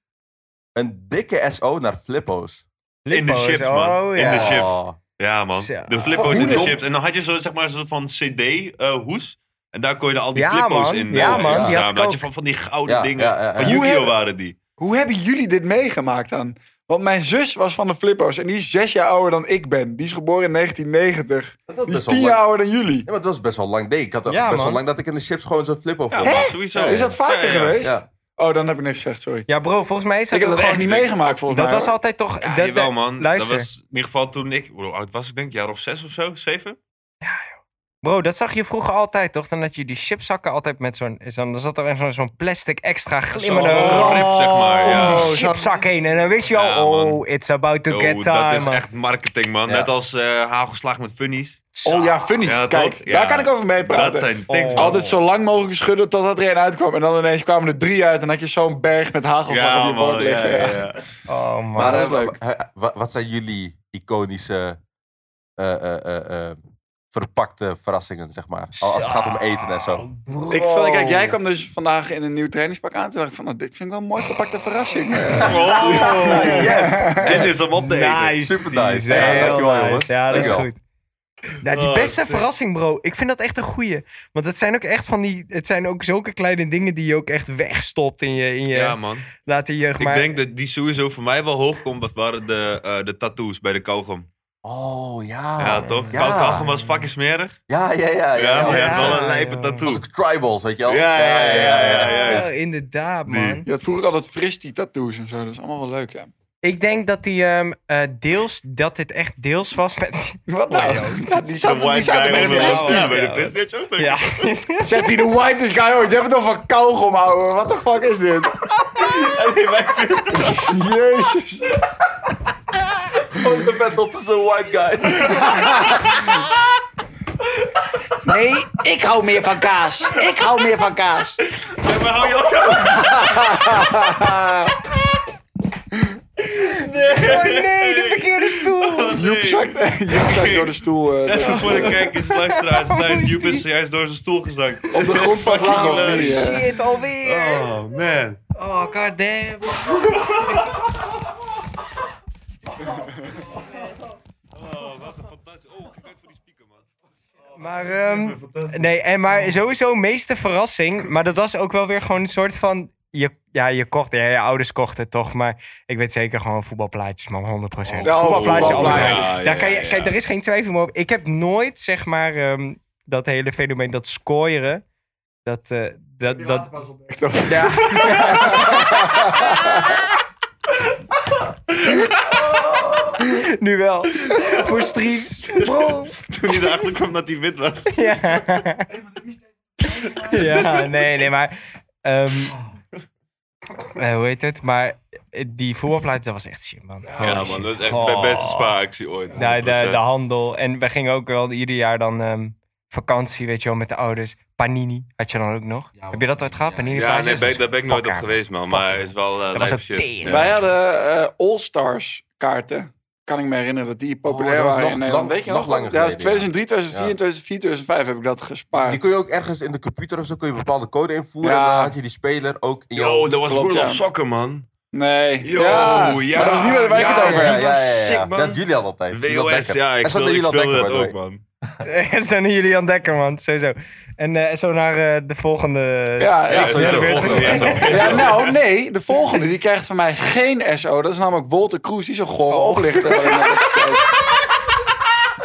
[SPEAKER 5] een dikke SO naar Flippo's.
[SPEAKER 3] In de
[SPEAKER 1] Lippo's,
[SPEAKER 3] chips, man.
[SPEAKER 1] oh,
[SPEAKER 3] In
[SPEAKER 1] ja.
[SPEAKER 3] de chips.
[SPEAKER 5] Oh.
[SPEAKER 3] Ja, man.
[SPEAKER 1] Zo.
[SPEAKER 3] De flippo's in de
[SPEAKER 2] Hoe-
[SPEAKER 3] chips. En dan had je zo, zeg maar, een soort van CD-hoes. en daar kon je dan al die
[SPEAKER 1] Ja,
[SPEAKER 3] flippo's
[SPEAKER 1] man.
[SPEAKER 3] in. eh,
[SPEAKER 1] Ja,
[SPEAKER 5] man. Die had
[SPEAKER 3] verzamelen.
[SPEAKER 1] ik
[SPEAKER 3] Dan had
[SPEAKER 1] ook.
[SPEAKER 3] je van, van die gouden
[SPEAKER 5] Ja,
[SPEAKER 3] dingen.
[SPEAKER 5] ja, ja, ja.
[SPEAKER 3] Van
[SPEAKER 5] Hoe
[SPEAKER 3] Yu-Gi-Oh!
[SPEAKER 2] hebben-
[SPEAKER 3] waren die.
[SPEAKER 2] Hoe hebben jullie dit meegemaakt dan? Want mijn zus was van de Flippo's en die is zes jaar ouder dan ik ben. Die is geboren in 1990.
[SPEAKER 5] Dat was
[SPEAKER 2] Die is
[SPEAKER 5] best wel
[SPEAKER 2] tien
[SPEAKER 5] lang.
[SPEAKER 2] jaar ouder dan jullie.
[SPEAKER 5] Ja, maar het was best wel lang. Nee, ik had ook
[SPEAKER 1] Ja,
[SPEAKER 5] best wel
[SPEAKER 1] man.
[SPEAKER 5] lang dat ik in de chips gewoon zo'n Flippo
[SPEAKER 3] Ja,
[SPEAKER 5] vond.
[SPEAKER 3] man, sowieso.
[SPEAKER 2] Is dat vaker
[SPEAKER 3] Ja, ja, ja.
[SPEAKER 2] geweest?
[SPEAKER 5] Ja.
[SPEAKER 2] Oh, dan heb ik niks gezegd, sorry.
[SPEAKER 1] Ja, bro, volgens mij is dat
[SPEAKER 2] Ik heb
[SPEAKER 1] ook
[SPEAKER 2] dat echt
[SPEAKER 1] gewoon-
[SPEAKER 2] niet meegemaakt volgens
[SPEAKER 1] Dat
[SPEAKER 2] mij.
[SPEAKER 1] was
[SPEAKER 2] hoor.
[SPEAKER 1] altijd toch...
[SPEAKER 3] Ja,
[SPEAKER 1] dat,
[SPEAKER 3] jawel, man.
[SPEAKER 1] Luister,
[SPEAKER 3] Dat was in ieder geval toen ik... Hoe oud was ik denk? Een jaar of zes of zo? Zeven?
[SPEAKER 1] bro, dat zag je vroeger altijd, toch? Dan had je die chipszakken altijd met zo'n... zo'n- Dan zat er echt zo'n zo'n plastic extra glimmende
[SPEAKER 2] Oh,
[SPEAKER 3] Zo'n
[SPEAKER 1] rand
[SPEAKER 3] rift, zeg maar. Ja.
[SPEAKER 1] om Oh, die chipszak heen. En dan wist je al,
[SPEAKER 3] Ja, man.
[SPEAKER 1] oh, it's about to
[SPEAKER 3] Yo,
[SPEAKER 1] get time.
[SPEAKER 3] dat is
[SPEAKER 1] man.
[SPEAKER 3] echt marketing, man.
[SPEAKER 5] Ja.
[SPEAKER 3] Net als eh hagelslag met funnies.
[SPEAKER 2] Oh ja, funnies.
[SPEAKER 3] Ja,
[SPEAKER 2] Kijk,
[SPEAKER 3] toch?
[SPEAKER 2] daar
[SPEAKER 3] Ja.
[SPEAKER 2] kan ik over meepraten.
[SPEAKER 3] Dat zijn things, man.
[SPEAKER 2] oh, Altijd zo lang mogelijk schudden totdat er één uitkwam. En dan ineens kwamen er drie uit en had je zo'n berg met hagelslag op
[SPEAKER 3] Ja,
[SPEAKER 2] je boot
[SPEAKER 3] man. Ja,
[SPEAKER 2] liggen.
[SPEAKER 3] ja,
[SPEAKER 2] Ja.
[SPEAKER 3] ja.
[SPEAKER 1] Oh, man.
[SPEAKER 5] Maar
[SPEAKER 2] dat is
[SPEAKER 5] eh,
[SPEAKER 2] leuk.
[SPEAKER 5] wa- eh, wa- wat zijn jullie iconische eh, eh, eh, eh, verpakte verrassingen, zeg maar? Al- oh, Als het gaat om eten en zo.
[SPEAKER 2] Ik vind, kijk, jij kwam dus vandaag in een nieuw trainingspak aan. Toen dacht ik van, nou, dit vind ik wel een mooi verpakte verrassing.
[SPEAKER 3] Oh,
[SPEAKER 5] Yes!
[SPEAKER 3] Dit is om op te eten.
[SPEAKER 1] Nice.
[SPEAKER 5] Super
[SPEAKER 1] die
[SPEAKER 5] nice.
[SPEAKER 1] is
[SPEAKER 5] Ja,
[SPEAKER 1] heel
[SPEAKER 5] dankjewel,
[SPEAKER 1] nice.
[SPEAKER 5] jongens.
[SPEAKER 1] Ja, dat is
[SPEAKER 5] Dankjewel.
[SPEAKER 1] goed. Nou, die
[SPEAKER 3] Oh,
[SPEAKER 1] beste
[SPEAKER 3] sick.
[SPEAKER 1] verrassing, bro. Ik vind dat echt een goeie. Want het zijn ook echt van die... Het zijn ook zulke kleine dingen die je ook echt wegstopt in je... In je
[SPEAKER 3] Ja, man.
[SPEAKER 1] later jeugd. Maar,
[SPEAKER 3] Ik denk dat die sowieso voor mij wel hoog komt. Dat waren de, eh, de tattoos bij de kauwgom.
[SPEAKER 5] Oh, ja.
[SPEAKER 3] ja, toch?
[SPEAKER 5] Ja,
[SPEAKER 3] Kau- Kauwgom
[SPEAKER 5] ja,
[SPEAKER 3] was fucking smerig.
[SPEAKER 5] ja. ja, ja,
[SPEAKER 3] Ja, maar je
[SPEAKER 1] ja,
[SPEAKER 3] had wel
[SPEAKER 1] ja,
[SPEAKER 3] een
[SPEAKER 1] ja.
[SPEAKER 3] lijpe
[SPEAKER 5] Dat was
[SPEAKER 3] tattoo.
[SPEAKER 5] ook tribals, weet je wel?
[SPEAKER 3] Ja, ja, ja, ja, ja,
[SPEAKER 1] Ja,
[SPEAKER 3] juist.
[SPEAKER 1] Oh, inderdaad,
[SPEAKER 3] Die.
[SPEAKER 1] man.
[SPEAKER 2] Je had vroeger altijd fris die tattoos en zo. Dat is allemaal wel leuk, ja.
[SPEAKER 1] Ik denk dat die ehm, eh, deels... Dat dit echt deels was met...
[SPEAKER 2] Wat nou? Ja, die
[SPEAKER 3] De
[SPEAKER 2] zaten, die
[SPEAKER 3] white
[SPEAKER 2] zaten
[SPEAKER 3] guy
[SPEAKER 2] bij
[SPEAKER 3] onder
[SPEAKER 2] de
[SPEAKER 3] de
[SPEAKER 2] fris.
[SPEAKER 1] Fristie.
[SPEAKER 3] Ja, bij de
[SPEAKER 1] Ja.
[SPEAKER 3] fristie had je ook leuk.
[SPEAKER 1] Ja.
[SPEAKER 2] Zegt hij de whitest guy ooit. Je hebt het over kauwgom, ouwe. Wat de fuck is dit? Jezus.
[SPEAKER 5] Gewoon de battle tussen white guys.
[SPEAKER 2] Nee, ik hou meer van kaas. Ik hou meer van kaas.
[SPEAKER 3] Maar hou je ook zo?
[SPEAKER 1] Oh nee, de verkeerde stoel!
[SPEAKER 2] Joep zakt, Joep zakt door de stoel. eh, door-
[SPEAKER 3] Even voor de kijkers, luisteraars. thuis. Joep is juist door zijn stoel gezakt.
[SPEAKER 2] op de grond van het
[SPEAKER 3] fucking
[SPEAKER 2] lachen.
[SPEAKER 3] leuk.
[SPEAKER 2] Ja.
[SPEAKER 1] Shit, alweer!
[SPEAKER 3] Oh, man.
[SPEAKER 1] Oh, god damn.
[SPEAKER 3] Oh, wat een fantastisch. Oh, kijk uit voor die speaker, man.
[SPEAKER 1] Maar, ehm, nee, en maar sowieso meeste verrassing. Maar dat was ook wel weer gewoon een soort van... Je, ja, je kocht, ja, je ouders kochten toch. Maar ik weet zeker gewoon voetbalplaatjes, man. 100%. voetbalplaatjes,
[SPEAKER 2] voetbalplaatjes.
[SPEAKER 1] altijd.
[SPEAKER 3] Oh, Ja, ja,
[SPEAKER 1] Daar kan je,
[SPEAKER 3] ja.
[SPEAKER 1] Kijk, er is geen twijfel meer over. Ik heb nooit, zeg maar, ehm, dat hele fenomeen, dat scoren. Dat, eh, dat, dat,
[SPEAKER 2] Echt, hoor.
[SPEAKER 1] Ja. Nu wel. Voor streams. Bro.
[SPEAKER 3] Toen hij erachter kwam dat hij wit was.
[SPEAKER 1] Ja. ja, nee, nee, maar... ehm,
[SPEAKER 3] Oh.
[SPEAKER 1] eh, hoe heet het? Maar eh, die voetbalplaat, dat was echt shit, man. Holy
[SPEAKER 3] Ja, man,
[SPEAKER 1] shit.
[SPEAKER 3] dat is echt
[SPEAKER 1] Oh. Nou,
[SPEAKER 3] mijn beste spaaractie ooit.
[SPEAKER 1] De, de,
[SPEAKER 3] 100%.
[SPEAKER 1] de handel. En we gingen ook wel ieder jaar dan ehm, vakantie, weet je wel, met de ouders. Panini had je dan ook nog.
[SPEAKER 8] Ja,
[SPEAKER 1] Heb je dat ooit gehad?
[SPEAKER 8] ja.
[SPEAKER 1] Panini
[SPEAKER 3] Ja,
[SPEAKER 1] plaatjes?
[SPEAKER 3] nee, ben,
[SPEAKER 1] Dat is
[SPEAKER 3] daar ben ik nooit op
[SPEAKER 1] fuck haar.
[SPEAKER 3] geweest, man.
[SPEAKER 1] Fuck
[SPEAKER 3] Maar
[SPEAKER 1] haar.
[SPEAKER 3] is wel
[SPEAKER 1] Dat
[SPEAKER 3] eh
[SPEAKER 1] was
[SPEAKER 3] lijpe
[SPEAKER 1] een
[SPEAKER 3] shit.
[SPEAKER 1] tering.
[SPEAKER 3] Ja.
[SPEAKER 2] Wij hadden eh All-Stars kaarten. Kan ik me herinneren dat die populair
[SPEAKER 5] Oh, dat was
[SPEAKER 2] waren
[SPEAKER 5] nog
[SPEAKER 2] in Nederland.
[SPEAKER 5] lang-
[SPEAKER 2] Weet je
[SPEAKER 5] nog
[SPEAKER 2] nog?
[SPEAKER 5] langer
[SPEAKER 2] Ja, dat is
[SPEAKER 5] geleden, ja.
[SPEAKER 2] 2003, 2004 en 2004, 2005 heb ik dat gespaard.
[SPEAKER 5] Die kun je ook ergens in de computer of zo kun je een bepaalde code invoeren.
[SPEAKER 2] Ja.
[SPEAKER 5] En dan had je die speler ook in jouw...
[SPEAKER 3] Yo, dat was
[SPEAKER 2] Klopt,
[SPEAKER 3] World of
[SPEAKER 2] ja.
[SPEAKER 3] Soccer, man.
[SPEAKER 2] Nee.
[SPEAKER 3] Yo,
[SPEAKER 2] ja.
[SPEAKER 3] ja,
[SPEAKER 2] Maar dat was niet waar wij
[SPEAKER 3] ja,
[SPEAKER 2] het over
[SPEAKER 3] die
[SPEAKER 5] ja, ja,
[SPEAKER 2] hebben.
[SPEAKER 5] ja,
[SPEAKER 3] was
[SPEAKER 5] ja, ja.
[SPEAKER 3] sick, man.
[SPEAKER 5] Dat jullie al altijd. Julian
[SPEAKER 3] WOS,
[SPEAKER 5] Dekker.
[SPEAKER 3] ja, ik
[SPEAKER 5] En zo
[SPEAKER 3] speelde, ik
[SPEAKER 5] Julian
[SPEAKER 3] speelde
[SPEAKER 5] Dekker,
[SPEAKER 3] dat
[SPEAKER 5] by the
[SPEAKER 3] ook,
[SPEAKER 5] way.
[SPEAKER 3] man.
[SPEAKER 1] Zo'n Julian Dekker, man. Sowieso. En eh, zo naar eh, de volgende...
[SPEAKER 2] Ja, ja,
[SPEAKER 3] Ja,
[SPEAKER 2] ja,
[SPEAKER 3] sowieso.
[SPEAKER 1] weer-
[SPEAKER 3] volgende, ja, sowieso.
[SPEAKER 2] Ja, nou, nee. De volgende, die krijgt van mij geen SO. Dat is namelijk Wolter Kroes, die is een gore
[SPEAKER 1] Oh.
[SPEAKER 2] oplichter. waar ik net heb gekeken.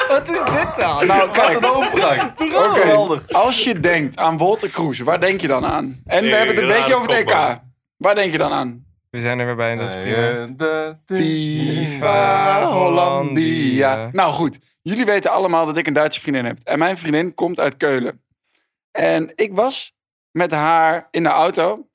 [SPEAKER 1] Wat is dit dan?
[SPEAKER 2] Nou,
[SPEAKER 5] Wat een
[SPEAKER 2] kijk.
[SPEAKER 5] overgang.
[SPEAKER 2] Oké,
[SPEAKER 5] Geweldig.
[SPEAKER 2] Als je denkt aan Wolter Kroes, waar denk je dan aan? En we
[SPEAKER 3] Nee,
[SPEAKER 2] hebben het een
[SPEAKER 3] rare
[SPEAKER 2] beetje over het
[SPEAKER 3] kop,
[SPEAKER 2] EK.
[SPEAKER 3] man.
[SPEAKER 2] Waar denk je dan aan?
[SPEAKER 1] We zijn er weer bij en dat is prima.
[SPEAKER 5] Eh, de- de-
[SPEAKER 2] Viva Hollandia.
[SPEAKER 1] Hollandia.
[SPEAKER 2] Nou goed, jullie weten allemaal dat ik een Duitse vriendin heb. En mijn vriendin komt uit Keulen. En ik was met haar in de auto.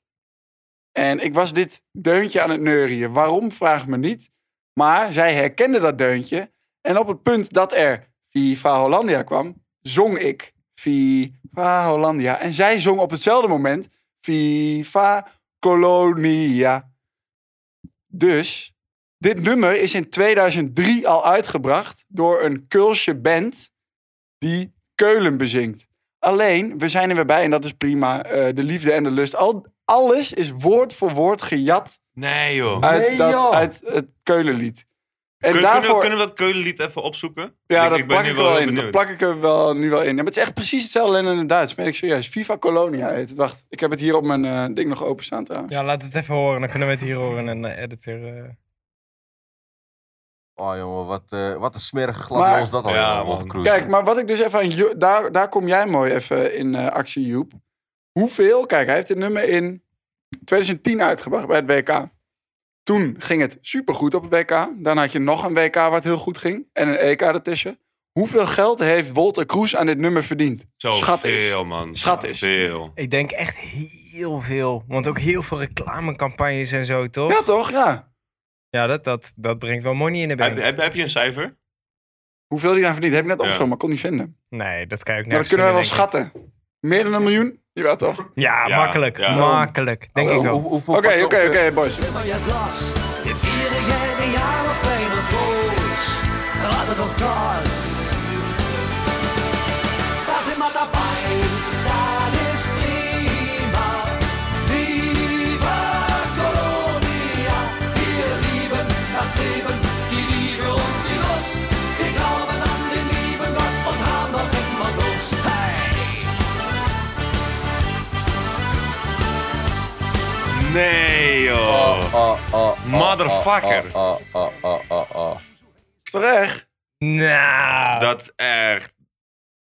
[SPEAKER 2] En ik was dit deuntje aan het neurien. Waarom, vraag me niet. Maar zij herkende dat deuntje. En op het punt dat er Viva Hollandia kwam, zong ik Viva Hollandia. En zij zong op hetzelfde moment Viva Colonia. Dus, dit nummer is in 2003 al uitgebracht door een Keulse band die Keulen bezingt. Alleen, we zijn er weer bij en dat is prima. eh, de liefde en de lust. Al, alles is woord voor woord gejat
[SPEAKER 3] Nee, joh.
[SPEAKER 2] uit,
[SPEAKER 5] Nee,
[SPEAKER 2] dat,
[SPEAKER 5] joh.
[SPEAKER 2] uit het Keulenlied. En
[SPEAKER 3] Kun- kunnen, we,
[SPEAKER 2] daarvoor,
[SPEAKER 3] kunnen we dat Keulenlied even opzoeken?
[SPEAKER 2] ja,
[SPEAKER 3] Ik-
[SPEAKER 2] dat
[SPEAKER 3] ik ben
[SPEAKER 2] plak
[SPEAKER 3] nu
[SPEAKER 2] ik
[SPEAKER 3] wel
[SPEAKER 2] wel
[SPEAKER 3] heel
[SPEAKER 2] in. Dat
[SPEAKER 3] benieuwd.
[SPEAKER 2] plak ik er wel, nu wel in. Ja, maar het is echt precies hetzelfde alleen in het Duits. Ben ik serieus. Viva Colonia heet het. Wacht, ik heb het hier op mijn eh, ding nog openstaan trouwens.
[SPEAKER 1] Ja, laat het even horen. Dan kunnen we het hier horen en de editor... eh,
[SPEAKER 5] Oh jongen, wat, eh, wat een smerige glad
[SPEAKER 2] Maar-
[SPEAKER 5] ons dat al.
[SPEAKER 3] Ja,
[SPEAKER 5] Ja,
[SPEAKER 3] man.
[SPEAKER 5] Walter Kroes.
[SPEAKER 2] Kijk, maar wat ik dus even aan Jo- daar, daar kom jij mooi even in eh, actie, Joep. Hoeveel? Kijk, hij heeft dit nummer in 2010 uitgebracht bij het WK. Toen ging het supergoed op het WK. Daarna had je nog een WK waar het heel goed ging. En een EK ertussen. Hoeveel geld heeft Wolter Kroes aan dit nummer verdiend?
[SPEAKER 3] Zo
[SPEAKER 2] Schat is.
[SPEAKER 3] veel, man.
[SPEAKER 2] Schat is.
[SPEAKER 3] Veel.
[SPEAKER 1] Ik denk echt heel veel. Want ook heel veel reclamecampagnes en zo, toch?
[SPEAKER 2] Ja, toch? Ja.
[SPEAKER 1] Ja, dat, dat, dat brengt wel money in de
[SPEAKER 3] Heb,
[SPEAKER 1] bank.
[SPEAKER 3] heb, heb je een cijfer?
[SPEAKER 2] Hoeveel die aan verdient? Heb ik net
[SPEAKER 3] Ja.
[SPEAKER 2] opgezocht, maar kon niet vinden.
[SPEAKER 1] Nee, dat kan je ook
[SPEAKER 2] Maar
[SPEAKER 1] nergens
[SPEAKER 2] dat kunnen wij wel
[SPEAKER 1] vinden, denk
[SPEAKER 2] schatten. Meer dan een miljoen? Jawel toch?
[SPEAKER 1] ik. Ja,
[SPEAKER 3] Ja,
[SPEAKER 1] makkelijk.
[SPEAKER 3] ja.
[SPEAKER 1] Makkelijk. Denk ik wel.
[SPEAKER 5] Hoeveel
[SPEAKER 2] Oké,
[SPEAKER 5] pakken-
[SPEAKER 2] oké, oké, boys.
[SPEAKER 9] Zimmer je glas. Je vierigheid, een jaar of bijna vloos. Laat het op gas. Daar zit maar daarbij, dat is prima. Viva Colonia. Wir lieben das Leben, die Liebe und die Lust. Wir glauben an den lieben Gott und haben noch immer Lust. Hey!
[SPEAKER 3] Nee, joh.
[SPEAKER 5] Oh, oh, oh,
[SPEAKER 3] Motherfucker.
[SPEAKER 5] Oh, oh, oh, oh, oh.
[SPEAKER 2] Is toch echt? oh.
[SPEAKER 1] Nou.
[SPEAKER 3] Dat is echt...